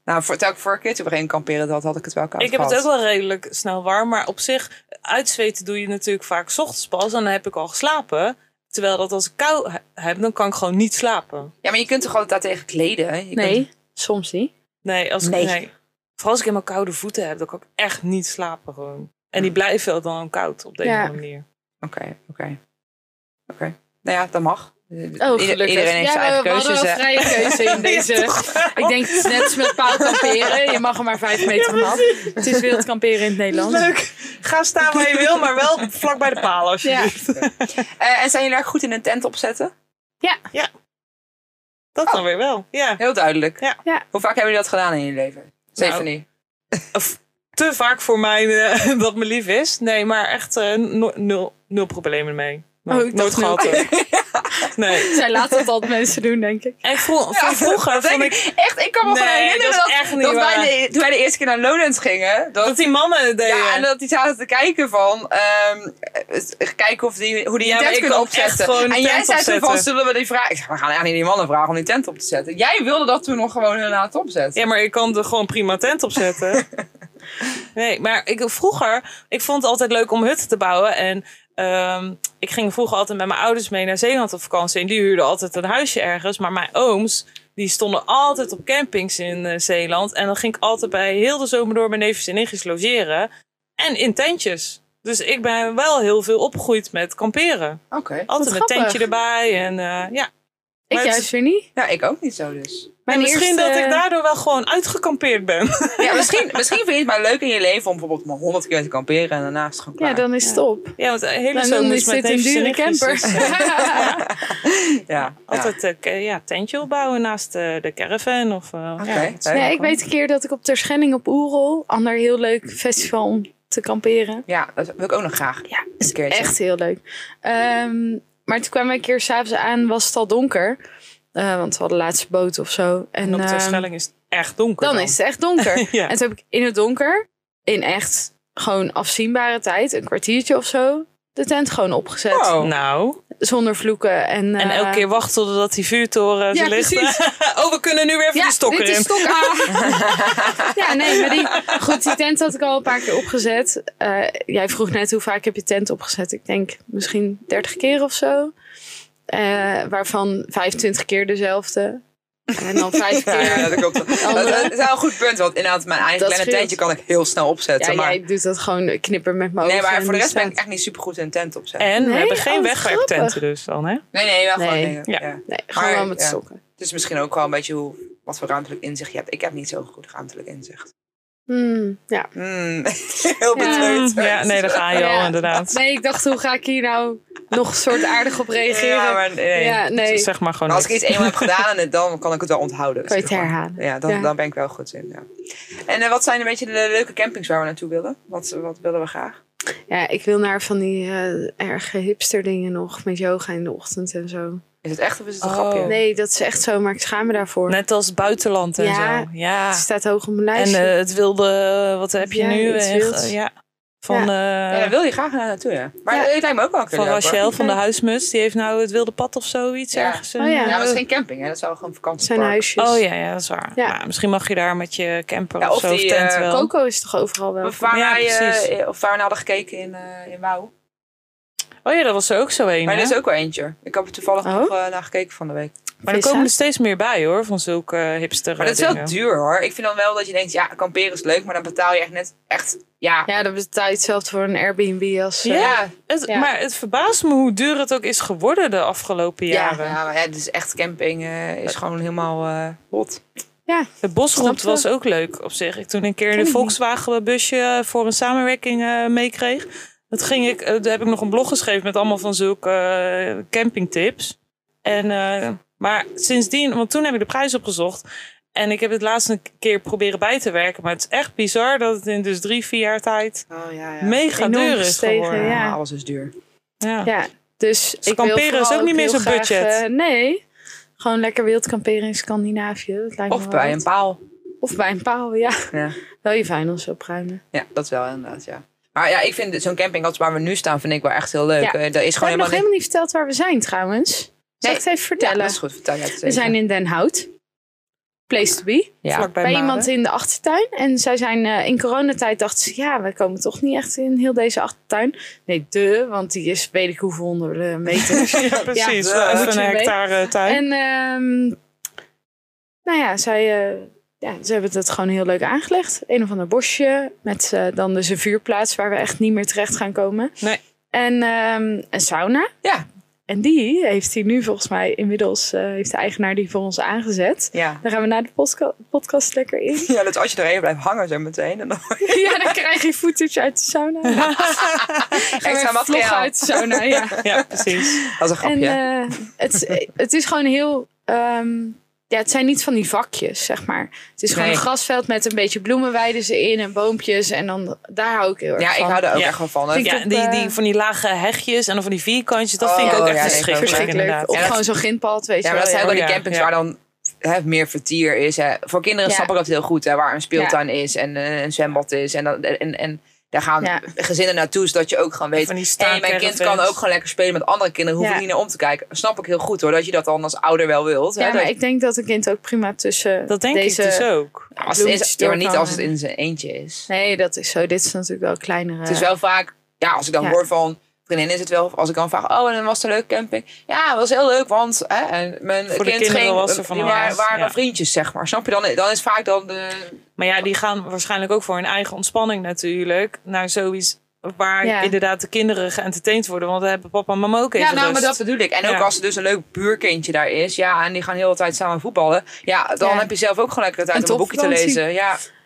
B: Nou, voor, telkens vorige keer toen we geen kamperen had, had ik het wel koud
D: Ik heb het ook
B: gehad.
D: wel redelijk snel warm, maar op zich, uitzweten doe je natuurlijk vaak 's ochtends pas en dan heb ik al geslapen. Terwijl dat als ik kou he- heb, dan kan ik gewoon niet slapen.
B: Ja, maar je kunt toch altijd daartegen kleden? hè? Je kunt-
C: Nee, soms niet.
D: Nee, als ik,
B: Nee.
D: nee. Vooral als ik helemaal koude voeten heb, dan kan ik echt niet slapen gewoon. En die blijven dan koud op deze
C: Ja.
D: manier.
B: Oké, oké. Oké. Nou ja, dat mag.
C: Oh, gelukkig.
B: Iedereen heeft
C: ja,
B: zijn eigen
C: we, we
B: keuzes.
C: hadden wel
B: hè.
C: vrije keuze in deze. Ik denk, het is net als met paal kamperen. Je mag er maar vijf meter vanaf. Het is wild kamperen in het Nederland.
D: Leuk. Ga staan waar je wil, maar wel vlak bij de paal
C: Ja.
D: alsjeblieft.
B: Eh, en zijn jullie erg goed in een tent opzetten?
D: Dat dan weer wel. Ja.
B: Heel duidelijk.
D: Ja. Nou.
C: Ja.
B: Hoe vaak hebben jullie dat gedaan in je leven? Stephanie?
D: te vaak voor mij eh, dat me lief is. Nee, maar echt eh, no- nul, nul problemen mee.
C: Oh, ik dacht
D: nooit gehad.
C: nul.
D: hoor. Nee.
C: Zij laten dat altijd mensen doen, denk ik.
D: En vro- van vroeger
B: dat
D: vond
B: denk
D: ik...
B: ik echt. Ik kan me gewoon
D: Nee,
B: herinneren
D: dat
B: dat,
D: is echt niet
B: dat
D: waar.
B: wij de, toen wij de eerste keer naar Lowlands gingen. Dat,
D: Dat die mannen het deden.
B: ja, en dat die zaten te kijken van, ehm, eh, kijken of die, hoe die
D: Ja,
B: een
D: maar
B: tent
D: ik
B: kunnen
D: kan echt
B: opzetten.
D: gewoon een
B: en jij
D: tent
B: zei toen van,
D: opzetten.
B: zullen we die vragen... Ik zeg, we gaan echt niet die mannen vragen om die tent op te zetten. Jij wilde dat toen nog gewoon hun laten opzetten.
D: Ja, maar ik kan er gewoon prima tent op zetten. nee, maar ik, vroeger, ik vond het altijd leuk om hutten te bouwen. En ehm, ik ging vroeger altijd met mijn ouders mee naar Zeeland op vakantie. En die huurden altijd een huisje ergens. Maar mijn ooms, die stonden altijd op campings in eh, Zeeland. En dan ging ik altijd bij heel de zomer door mijn neefjes en nichtjes logeren. En in tentjes. Dus ik ben wel heel veel opgegroeid met kamperen.
B: Oké.
D: Altijd
C: Wat
D: een tentje
C: grappig.
D: erbij. En eh, ja,
C: Ik
D: Maar het-
C: juist weer niet.
B: Ja, Nou, ik ook niet zo dus.
C: Mijn
D: en misschien
C: eerste-
D: dat ik daardoor wel gewoon uitgekampeerd ben.
B: Ja, misschien, misschien vind je het maar leuk in je leven om bijvoorbeeld maar honderd keer te kamperen en daarnaast gewoon klaar.
C: Ja, dan is het op.
D: Ja, want de hele
C: En dan
D: zomer
C: is
D: is met
C: dit een
D: neefjes en
C: dure
D: nichtjes,
C: camper.
D: dus, eh,
B: Ja, ja.
D: altijd eh, k- ja, tentje opbouwen naast eh, de caravan. Of, eh,
B: Oké,
D: ja,
B: leuk.
D: dat is-
C: Nee, ik weet een keer dat ik op Terschelling op Oerol, ander heel leuk festival om te kamperen.
B: Ja, dat wil ik ook nog graag.
C: Ja,
B: Een keertje.
C: Echt heel leuk. Ehm, maar toen kwamen we een keer s'avonds aan, was het al donker. Eh, want we hadden de laatste boot of zo. En,
D: En op de
C: ehm,
D: Schelling is het echt donker.
C: dan is het echt donker.
D: Ja.
C: En toen heb ik in het donker, in echt gewoon afzienbare tijd, een kwartiertje of zo, de tent gewoon opgezet.
B: Wow.
D: Nou,
C: Zonder vloeken. En,
D: en
C: eh,
D: elke keer wachten totdat die vuurtoren
C: Ja,
D: ze ligt.
C: precies.
D: oh, we kunnen nu weer even
C: Ja,
D: de stok
C: dit
D: erin.
C: is stok aan. ja, nee, maar die, goed, die tent had ik al een paar keer opgezet. Eh, jij vroeg net hoe vaak heb je tent opgezet. Ik denk misschien 30 keer of zo. Eh, waarvan 25 keer dezelfde. En dan vijf
B: Ja,
C: keer.
B: ja, dat klopt. Dat, dat is wel een goed punt, want inderdaad, mijn eigen
C: Dat
B: kleine
C: scheelt.
B: tentje kan ik heel snel opzetten.
C: Ja,
B: maar,
C: jij doet dat gewoon knipper met mijn
B: nee,
C: ogen
B: maar
C: en
B: voor de
C: die
B: rest ben
C: staat-
B: ik echt niet super goed in tent opzetten.
D: En we
C: Nee,
D: hebben geen
C: oh, wat
D: wegwerktenten
C: grappig.
D: dus dan, hè?
B: Nee, nee, wel gewoon
C: Nee.
B: dingen.
D: Ja.
B: Ja.
C: Nee, gewoon
B: Maar,
C: wel met
B: ja.
C: sokken.
B: Het is misschien ook wel een beetje hoe, wat voor ruimtelijk inzicht je hebt. Ik heb niet zo goed ruimtelijk inzicht.
C: Hmm, ja.
B: Hmm, heel
C: Ja.
B: betreurd.
D: Ja, nee, daar ga je al,
C: Ja.
D: inderdaad.
C: Nee, ik dacht, hoe ga ik hier nou nog een soort aardig op reageren?
B: Ja, maar nee.
C: Ja, nee.
D: Zeg maar gewoon
B: Maar als ik
D: niks.
B: iets eenmaal heb gedaan, en het- dan kan ik het wel onthouden.
C: Kan je het
B: zeg maar.
C: herhalen.
B: Ja, dan,
C: Ja.
B: dan ben ik wel goed in. Ja. En eh, wat zijn een beetje de leuke campings waar we naartoe willen? Wat, wat willen we graag?
C: Ja, ik wil naar van die eh erge hipster dingen nog. Met yoga in de ochtend en zo.
B: Is het echt of is het een
D: Oh.
B: grapje?
C: Nee, dat is echt zo, maar ik schaam me daarvoor.
D: Net als buitenland en
C: Ja.
D: zo. Ja.
C: Het staat hoog op mijn
D: En
C: lijstje.
D: eh, het wilde, wat heb je
C: Ja,
D: nu?
C: iets
D: Eh,
C: wilds.
D: ja. Van,
B: Ja,
D: eh,
B: daar wil je graag naar naartoe, ja. Maar
C: Ja.
B: eh, het lijkt me ook wel een keer
D: van
B: leuk, hoor.
D: Rachel van de huismus. Die heeft nou het wilde pad of zoiets
B: Ja.
D: ergens.
C: Oh ja.
B: Ja, maar
D: eh,
B: het is geen camping, hè. Dat zou gewoon
C: het zijn
B: vakantiepark.
C: huisjes.
D: Oh ja, ja, dat is waar.
C: Ja.
D: Maar misschien mag je daar met je camper
B: Ja,
D: of,
B: of
D: zo, of
B: die,
D: tent
B: eh,
D: wel.
C: Coco is toch overal wel.
B: Of waar,
D: Ja,
B: wij, eh,
D: precies.
B: of waar we naar hadden gekeken in, eh in Wauw.
D: Oh ja, dat was er ook zo een.
B: Maar
D: hè?
B: er is ook wel eentje. Ik heb er toevallig
C: Oh?
B: nog eh, naar gekeken van de week.
D: maar er
C: Vissa?
D: komen er steeds meer bij hoor, van zulke eh, hipster
B: Maar dat is
D: eh,
B: wel
D: dingen.
B: duur hoor. Ik vind dan wel dat je denkt, ja, kamperen is leuk, maar dan betaal je echt net echt, ja.
C: Ja, dat betaal je hetzelfde voor een Airbnb als... eh,
D: Ja.
B: Ja,
D: Het,
C: Ja.
D: Maar het verbaast me hoe duur het ook is geworden de afgelopen jaren.
B: ja, maar ja, dus echt camping eh, is gewoon helemaal eh hot.
D: De
C: Snap
D: bosroute
C: je?
D: was ook leuk op zich. Ik toen een keer
C: Ken
D: een
C: ik
D: Volkswagen busje voor een samenwerking eh, meekreeg. Dat ging ik, eh, daar heb ik nog een blog geschreven met allemaal van zulke eh, campingtips. En, eh, maar sindsdien, want toen heb ik de prijs opgezocht. En ik heb het laatst een keer proberen bij te werken. Maar het is echt bizar dat het in dus drie, vier jaar tijd
B: Oh ja, ja.
D: mega
C: Enorm
D: duur is
C: gestegen,
D: geworden.
C: ja.
B: alles is duur.
D: Ja.
C: ja. Dus ik wil
D: kamperen is
C: vooral
D: ook niet meer
C: heel
D: zo'n
C: graag,
D: budget.
C: eh, nee, gewoon lekker wild kamperen in Scandinavië. Dat lijkt me
B: Of
C: wel
B: bij een
C: wat.
B: paal.
C: Of bij een paal, ja.
B: Ja.
C: Wel je vuilnis opruimen.
B: Ja, dat wel inderdaad, ja. Maar ja, ik vind zo'n camping als waar we nu staan, vind ik wel echt heel leuk.
C: Ja.
B: Eh, daar is
C: We
B: gewoon
C: hebben nog
B: helemaal niks-
C: helemaal niet verteld waar we zijn trouwens. Zal
B: Nee,
C: ik het even
B: Ja,
C: vertellen?
B: dat is goed. Vertel jij het
C: We zijn
B: even.
C: in Den Hout. Place to be.
B: ja.
D: Vlakbij
C: Bij
D: Maden.
C: iemand in de achtertuin. En zij zijn eh, in coronatijd dachten ze... ja, we komen toch niet echt in heel deze achtertuin. Nee, de, want die is weet ik hoeveel honderden meters.
D: ja, precies.
B: Ja,
D: Wel
B: eh,
D: even
C: moet je
D: een
C: mee.
D: hectare tuin.
C: en ehm, nou ja, zij, eh, ja, ze hebben het gewoon heel leuk aangelegd. Een of ander bosje met eh, dan dus een vuurplaats... waar we echt niet meer terecht gaan komen.
D: Nee.
C: En ehm, een sauna.
B: Ja.
C: En die heeft hij nu volgens mij inmiddels... eh, heeft de eigenaar die voor ons aangezet.
B: Ja.
C: Dan gaan we naar de postka- podcast lekker in.
B: ja, dat als je er even blijft hangen zo meteen. En dan
C: Ja, dan krijg je footage uit de sauna. Ja,
B: extra
C: vlog
B: materiaal.
C: uit de sauna, ja. eh,
D: Ja, precies.
B: Dat is een grapje.
C: En eh, het, het is gewoon heel ehm, Ja, het zijn niet van die vakjes, zeg maar. Het is gewoon
B: Nee.
C: een grasveld met een beetje bloemenweiden ze in en boompjes. En dan, daar hou ik heel erg
B: Ja, ik
C: van.
B: hou er ook
D: Ja.
B: echt gewoon van.
C: Vind ik
D: Ja,
C: op,
D: die,
C: eh,
D: die, van die lage hegjes en dan van die vierkantjes, dat
B: Oh,
D: vind ik ook
B: ja,
D: echt
B: nee,
D: verschrikkelijk,
C: Verschrikkelijk.
D: inderdaad.
C: Of
B: Ja, dat-
C: gewoon zo'n grindpad, weet
B: Ja,
C: je
B: maar
C: wel.
B: dat zijn ook
C: Oh ja.
B: wel die
D: ja,
B: campings
D: ja.
B: waar dan hè, meer vertier is. Hè. Voor kinderen
C: Ja.
B: snap ik dat heel goed. Hè, waar een speeltuin is en eh, een zwembad is. En, dan, en, en daar gaan
C: Ja.
B: gezinnen naartoe, zodat je ook gewoon weet...
D: Van die
B: Hey, mijn kind kan ook gewoon lekker spelen met andere kinderen. Hoef
C: Ja.
B: ik niet naar om te kijken. Snap ik heel goed hoor, dat je dat dan als ouder wel wilt. hè,
C: Ja,
B: dat-
C: maar ik denk dat een kind ook prima tussen
D: Dat denk
C: deze...
D: ik dus ook.
B: als het is,
C: bloemetjes
B: ja, maar
C: door
B: niet
C: kan.
B: als het in zijn eentje is.
C: Nee, dat is zo. Dit is natuurlijk wel kleinere...
B: Het is wel vaak, ja, als ik dan
C: Ja.
B: hoor van vriendinnen is het wel. Als ik dan vraag, oh, en dan was het een leuke camping. Ja, het was heel leuk, want hè, en mijn
D: Voor de
B: kind
D: kinderen
B: ging,
D: was er van
B: die
D: alles,
B: waren, waren
D: ja.
B: dan vriendjes, zeg maar. Snap je? Dan, dan is vaak dan de...
D: Maar ja, die gaan waarschijnlijk ook voor hun eigen ontspanning natuurlijk. Naar zoiets waar
C: Ja.
D: inderdaad de kinderen geëntertaind worden. Want dan hebben papa en mama ook even
B: Ja, nou, maar
D: rust.
B: dat bedoel ik. En ook
D: Ja.
B: als er dus een leuk buurkindje daar is, ja, en die gaan de hele tijd samen voetballen. Ja, dan
C: Ja.
B: heb je zelf ook gewoon lekker de tijd
C: Een
B: om een boekje te
C: topvakantie.
B: lezen.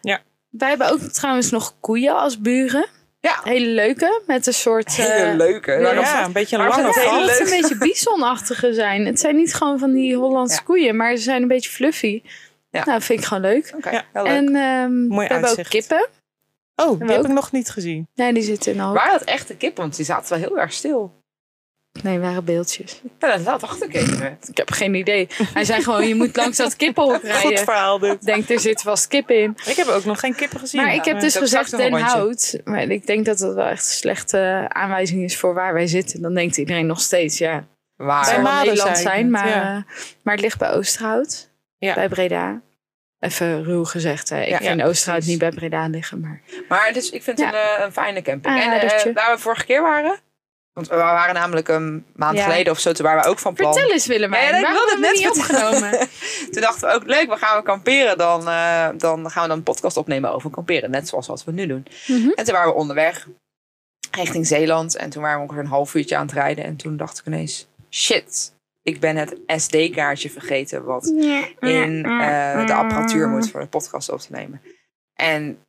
B: Ja,
C: Wij hebben ook trouwens nog koeien als buren.
B: ja.
C: Hele leuke, met een soort...
B: hele
C: eh,
B: leuke. Nou, dat-
D: Ja, een beetje een
B: Maar
D: lange
B: dat is
C: Het
B: hele
D: vast.
C: moet
B: leuk.
C: een beetje bisonachtige zijn. Het zijn niet gewoon van die Hollandse
B: Ja.
C: koeien, maar ze zijn een beetje fluffy.
B: Ja.
C: Nou, vind ik gewoon leuk.
B: Oké,
D: Ja.
B: heel leuk.
C: En ehm, we
D: Mooi
C: hebben ook
D: uitzicht.
C: kippen.
D: Oh, die
C: we
D: heb
C: ook.
D: ik nog niet gezien.
C: Nee, die zitten in de hal.
B: Waar dat echte kip, want die zaten wel heel erg stil.
C: Nee, waren beeldjes.
B: Ja, dat, dat dacht ik even.
C: Ik heb geen idee. Hij zei gewoon, je moet langs dat kippenhok
D: Goed
C: rijden.
D: verhaal dit.
C: Ik denk, er zit vast kip in.
D: Ik heb ook nog geen kippen gezien.
C: Maar ik heb dus
B: heb ik straks
C: gezegd
B: nog een
C: Den
B: rondje.
C: Hout. Maar ik denk dat dat wel echt een slechte aanwijzing is voor waar wij zitten. Dan denkt iedereen nog steeds, ja,
B: Waar?
C: het zal
D: Bij
C: wel
D: Maden
C: Nederland
D: zei ik
C: zijn.
D: net,
C: Maar,
D: ja.
C: eh, maar het ligt bij Oosterhout,
D: Ja.
C: bij Breda. Even ruw gezegd, hè. ik
B: Ja,
C: vind
D: ja,
C: Oosterhout
D: precies.
C: niet bij Breda liggen. Maar
B: Maar dus, ik vind het een, eh, een fijne camping. en eh,
C: Aanradertje.
B: waar we vorige keer waren, want we waren namelijk een maand
C: Ja.
B: geleden of zo, toen waren we ook van plan.
C: Vertel eens Willemijn,
B: Ja, ja, ik
C: waarom
B: wilde
C: hebben we
B: het
C: niet
B: net
C: opgenomen?
B: Toen dachten we ook, leuk, we gaan we kamperen. Dan, eh, dan gaan we dan een podcast opnemen over kamperen. Net zoals wat we nu doen.
C: Mhm.
B: En toen waren we onderweg richting Zeeland. En toen waren we ongeveer een half uurtje aan het rijden. En toen dacht ik ineens, shit, ik ben het SD-kaartje vergeten. Wat in eh, de apparatuur moet voor de podcast op te nemen. En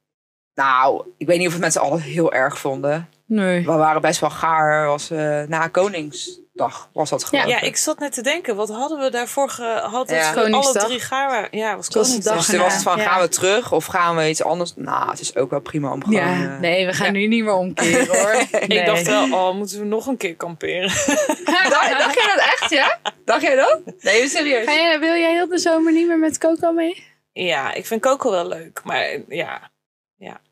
B: nou, ik weet niet of het mensen allen heel erg vonden.
C: Nee.
B: We waren best wel gaar. Was, eh, na Koningsdag was dat gewoon.
D: Ja, ik zat net te denken, wat hadden we daarvoor gehad?
B: Ja.
D: Ja. Alle
C: Koningsdag.
D: drie gaar waren. Ja, was
C: Het was de
D: Koningsdag.
C: dag
B: Dus toen was het van,
C: Ja.
B: gaan we terug of gaan we iets anders? Nou, het is ook wel prima om gewoon...
C: ja,
B: eh,
C: nee, we gaan nu niet meer omkeren hoor.
D: Ik dacht wel, oh, moeten we nog een keer kamperen?
B: Dacht, dacht jij dat echt, ja? Dacht jij dat? Nou, Nee, serieus.
C: Ga jij, wil jij heel de zomer niet meer met Coco mee?
D: Ja, ik vind Coco wel leuk. Maar ja.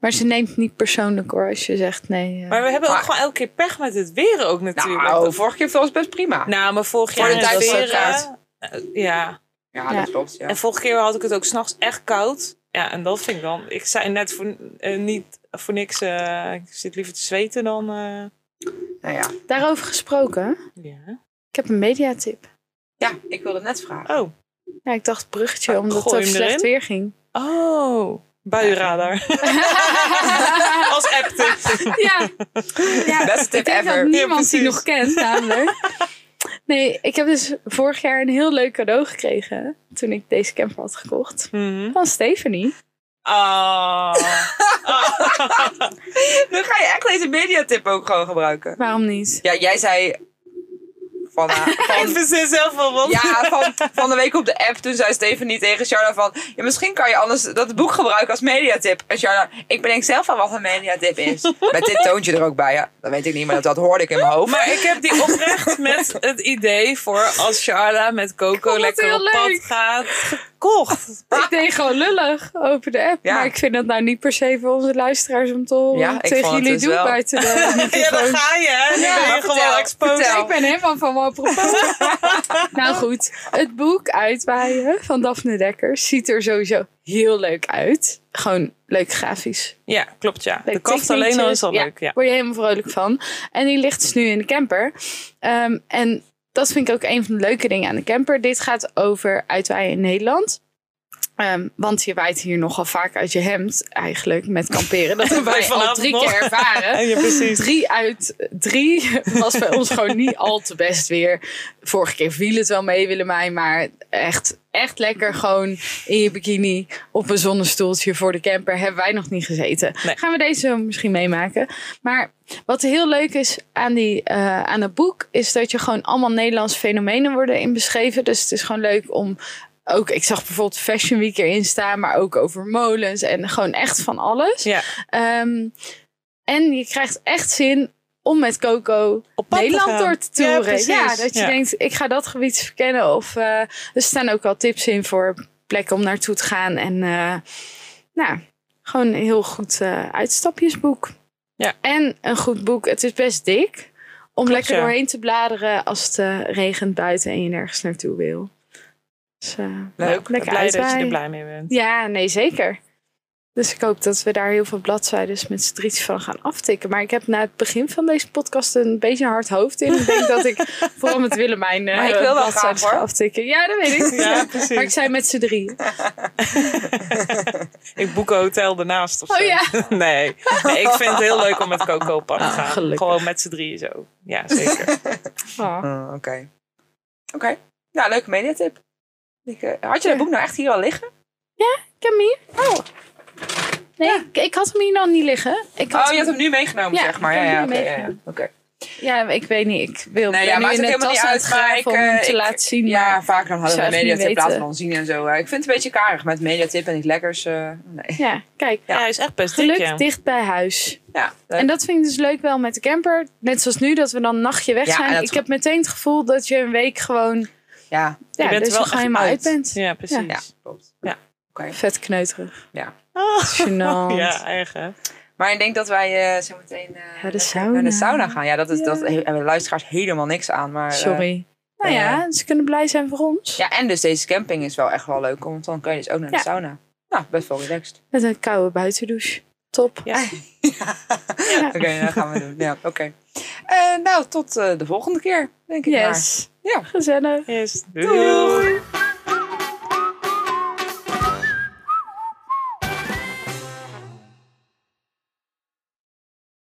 C: Maar ze neemt het niet persoonlijk hoor, als je zegt nee. eh.
D: Maar we hebben
B: Mm. Maar-
D: ook gewoon elke keer pech met het weer ook natuurlijk.
B: Nou, vorige keer was het best prima.
D: Nou, maar vorig
B: Voor
D: jaar
B: de
D: het
B: tijd was het
D: weer,
B: koud.
D: eh, eh, ja.
B: ja,
C: ja.
B: dat klopt, ja.
D: En vorige keer had ik het ook s'nachts echt koud. Ja, en dat vind ik dan... Ik zei net voor, eh, niet voor niks... eh, ik zit liever te zweten dan... eh,
B: Nou ja.
C: Daarover gesproken,
D: ja.
C: ik heb een mediatip.
B: ja, ik wilde net vragen.
D: Oh.
C: Ja, ik dacht bruggetje,
D: Ah,
C: omdat het
D: gooi
C: over
D: hem
C: slecht
D: erin.
C: weer ging.
D: Oh. Buienradar. Als app
C: ja, ja.
B: Beste tip
C: ik denk
B: ever.
C: dat niemand die
D: Ja,
C: nog kent, namelijk. Nee, ik heb dus vorig jaar een heel leuk cadeau gekregen. toen ik deze camper had
B: Hm?
C: gekocht.
D: Mhm.
C: Van Stephanie.
D: Ah.
B: Nu ga je echt deze mediatip ook gewoon gebruiken.
C: Waarom niet?
B: Ja, jij zei... Van, eh,
D: Ik
B: van,
D: verzin zelf wel wat.
B: ja, van, van de week op de app, toen zei Stephanie tegen Charla van... Ja, misschien kan je anders dat boek gebruiken als mediatip. En Charla, ik bedenk zelf al wat een mediatip is. Met dit toontje er ook bij, ja. Dat weet ik niet, maar dat, dat hoorde ik in mijn hoofd.
D: Maar ik heb die oprecht met het idee voor als Charla met Coco
C: vond het
D: lekker op
C: heel
D: pad
C: leuk.
D: gaat gekocht.
C: Ik deed gewoon lullig over de app.
B: Ja.
C: Maar ik vind dat nou niet per se voor onze luisteraars om te horen.
B: Ja,
C: hoe ik
B: ik
C: tegen
B: vond het
C: jullie
B: dus
C: doe
B: wel.
C: buiten de
D: Ja,
C: microfoon.
D: dan ga je. hè. Dan ben je
B: vertel,
D: gewoon exposed.
B: vertel.
C: Ik ben helemaal van mijn apropos. nou goed, het boek Uitwaaien van Daphne Dekkers ziet er sowieso heel leuk uit. Gewoon leuk grafisch.
D: Ja, klopt ja. De
C: Leuk
D: kast alleen al is al
C: tekeningetjes.
D: leuk. Ja.
C: Word je helemaal vrolijk van. En die ligt dus nu in de camper. Ehm, en dat vind ik ook een van de leuke dingen aan de camper. Dit gaat over uitwaaien in Nederland. Ehm, want je waait hier nogal vaak uit je hemd eigenlijk met kamperen. Dat hebben wij al
D: vanavond
C: drie
D: nog.
C: keer ervaren.
D: En je Ah, precies.
C: Drie uit drie was bij ons gewoon niet al te best weer. Vorige keer viel het wel mee, Willemijn. Maar echt, echt lekker gewoon in je bikini op een zonnestoeltje voor de camper. Hebben wij nog niet gezeten.
D: Nee.
C: Gaan we deze zo misschien meemaken. Maar wat heel leuk is aan, die, eh, aan het boek... is dat je gewoon allemaal Nederlandse fenomenen worden in beschreven. Dus het is gewoon leuk om ook, ik zag bijvoorbeeld Fashion Week erin staan, maar ook over molens en gewoon echt van alles.
D: Ja.
C: Ehm, en je krijgt echt zin om met Coco
D: Op pad te
C: Nederland
D: gaan.
C: door te toeren.
D: precies.
C: Ja, dat je
D: Ja.
C: denkt, ik ga dat gebied verkennen. Of eh, er staan ook al tips in voor plekken om naartoe te gaan. En eh, nou, gewoon een heel goed eh, uitstapjesboek.
D: Ja.
C: En een goed boek. Het is best dik. Om lekker
D: ja.
C: doorheen te bladeren als het eh, regent buiten en je nergens naartoe wil. Dus, eh,
D: Leuk.
C: Lekker
D: blij dat je
C: uitwaaien.
D: er blij mee bent.
C: ja, nee, zeker. Dus ik hoop dat we daar heel veel bladzijden met z'n drieën van gaan aftikken. Maar ik heb na het begin van deze podcast een beetje een hard hoofd in. Ik denk dat ik vooral met Willemijn eh
B: Maar ik wil wel
C: bladzijden
B: graag, hoor.
C: ga aftikken. Ja, dat weet ik.
D: Ja,
C: Maar ik
D: precies.
C: zei met z'n drieën.
D: Ik boek een hotel ernaast of
C: Oh
D: zo.
C: ja.
D: Nee. nee, ik vind het heel leuk om met Coco op pad te
C: Ah,
D: gaan.
C: gelukkig.
D: Gewoon met z'n drieën zo. Ja, zeker.
C: Oh.
B: Ah, Oké. Oké. Nou, leuke mediatip. Ik, eh, had je dat boek nou echt hier al liggen?
C: Ik heb hem hier. Oh. Nee, ik, ik had hem hier nog niet liggen. Ik had
B: oh, je hebt hem nu meegenomen,
C: Ja,
B: zeg maar.
C: ik
B: Ja,
C: heb
B: ja,
C: hem
B: oké.
C: nu
B: ja, ja.
C: meegenomen.
B: Oké.
C: Ja, ik weet niet. Ik wil
B: Nee,
C: nee,
B: ja,
C: nu
B: maakt
C: in
B: ook
C: de
B: helemaal niet
C: tas
B: uit, maar
C: uitgraven
B: ik,
C: om hem
B: eh,
C: te
B: ik-
C: laten zien.
B: Ja,
C: maar-
B: vaak dan hadden we
C: Zou
B: een
C: even niet
B: mediatip in plaats
C: weten.
B: van onzien en zo. Eh, Ik vind het een beetje karig met mediatip en iets lekkers. eh, nee.
C: ja kijk.
D: Ja, hij is echt best
C: Geluk
D: dik, ja.
C: dicht bij huis.
B: Ja,
C: En dat vind ik dus leuk wel met de camper. Net zoals nu, dat we dan een nachtje weg
B: Ja,
C: zijn.
B: en dat-
C: ik heb meteen het gevoel dat je een week gewoon...
B: ja,
C: Ja,
D: je
C: dus
D: bent er wel
C: je gewoon
D: echt
C: helemaal uit
D: uit.
C: bent.
D: Ja, precies.
B: ja, klopt.
D: Ja.
B: Oké.
C: Vet kneuterig.
B: Ja.
C: Gênant.
D: Ja, erg hè.
B: Maar ik denk dat wij eh zo meteen eh,
C: Naar de
B: lekker
C: sauna.
B: naar de sauna gaan. Ja, dat is
C: Ja.
B: dat he- hebben de luisteraars helemaal niks aan. Maar, eh,
C: Sorry. nou
B: eh,
C: ja, ze kunnen blij zijn voor ons.
B: ja, en dus deze camping is wel echt wel leuk, want dan kan je dus ook naar de
C: Ja.
B: sauna. Nou, best wel relaxed.
C: Met een koude buitendouche. Top.
D: Ja.
B: Oké, dat gaan we doen. Ja, oké. Eh, nou, tot eh, de volgende keer, denk ik maar.
C: Yes.
B: Ja.
C: Gezellig.
D: Yes.
B: Doeg.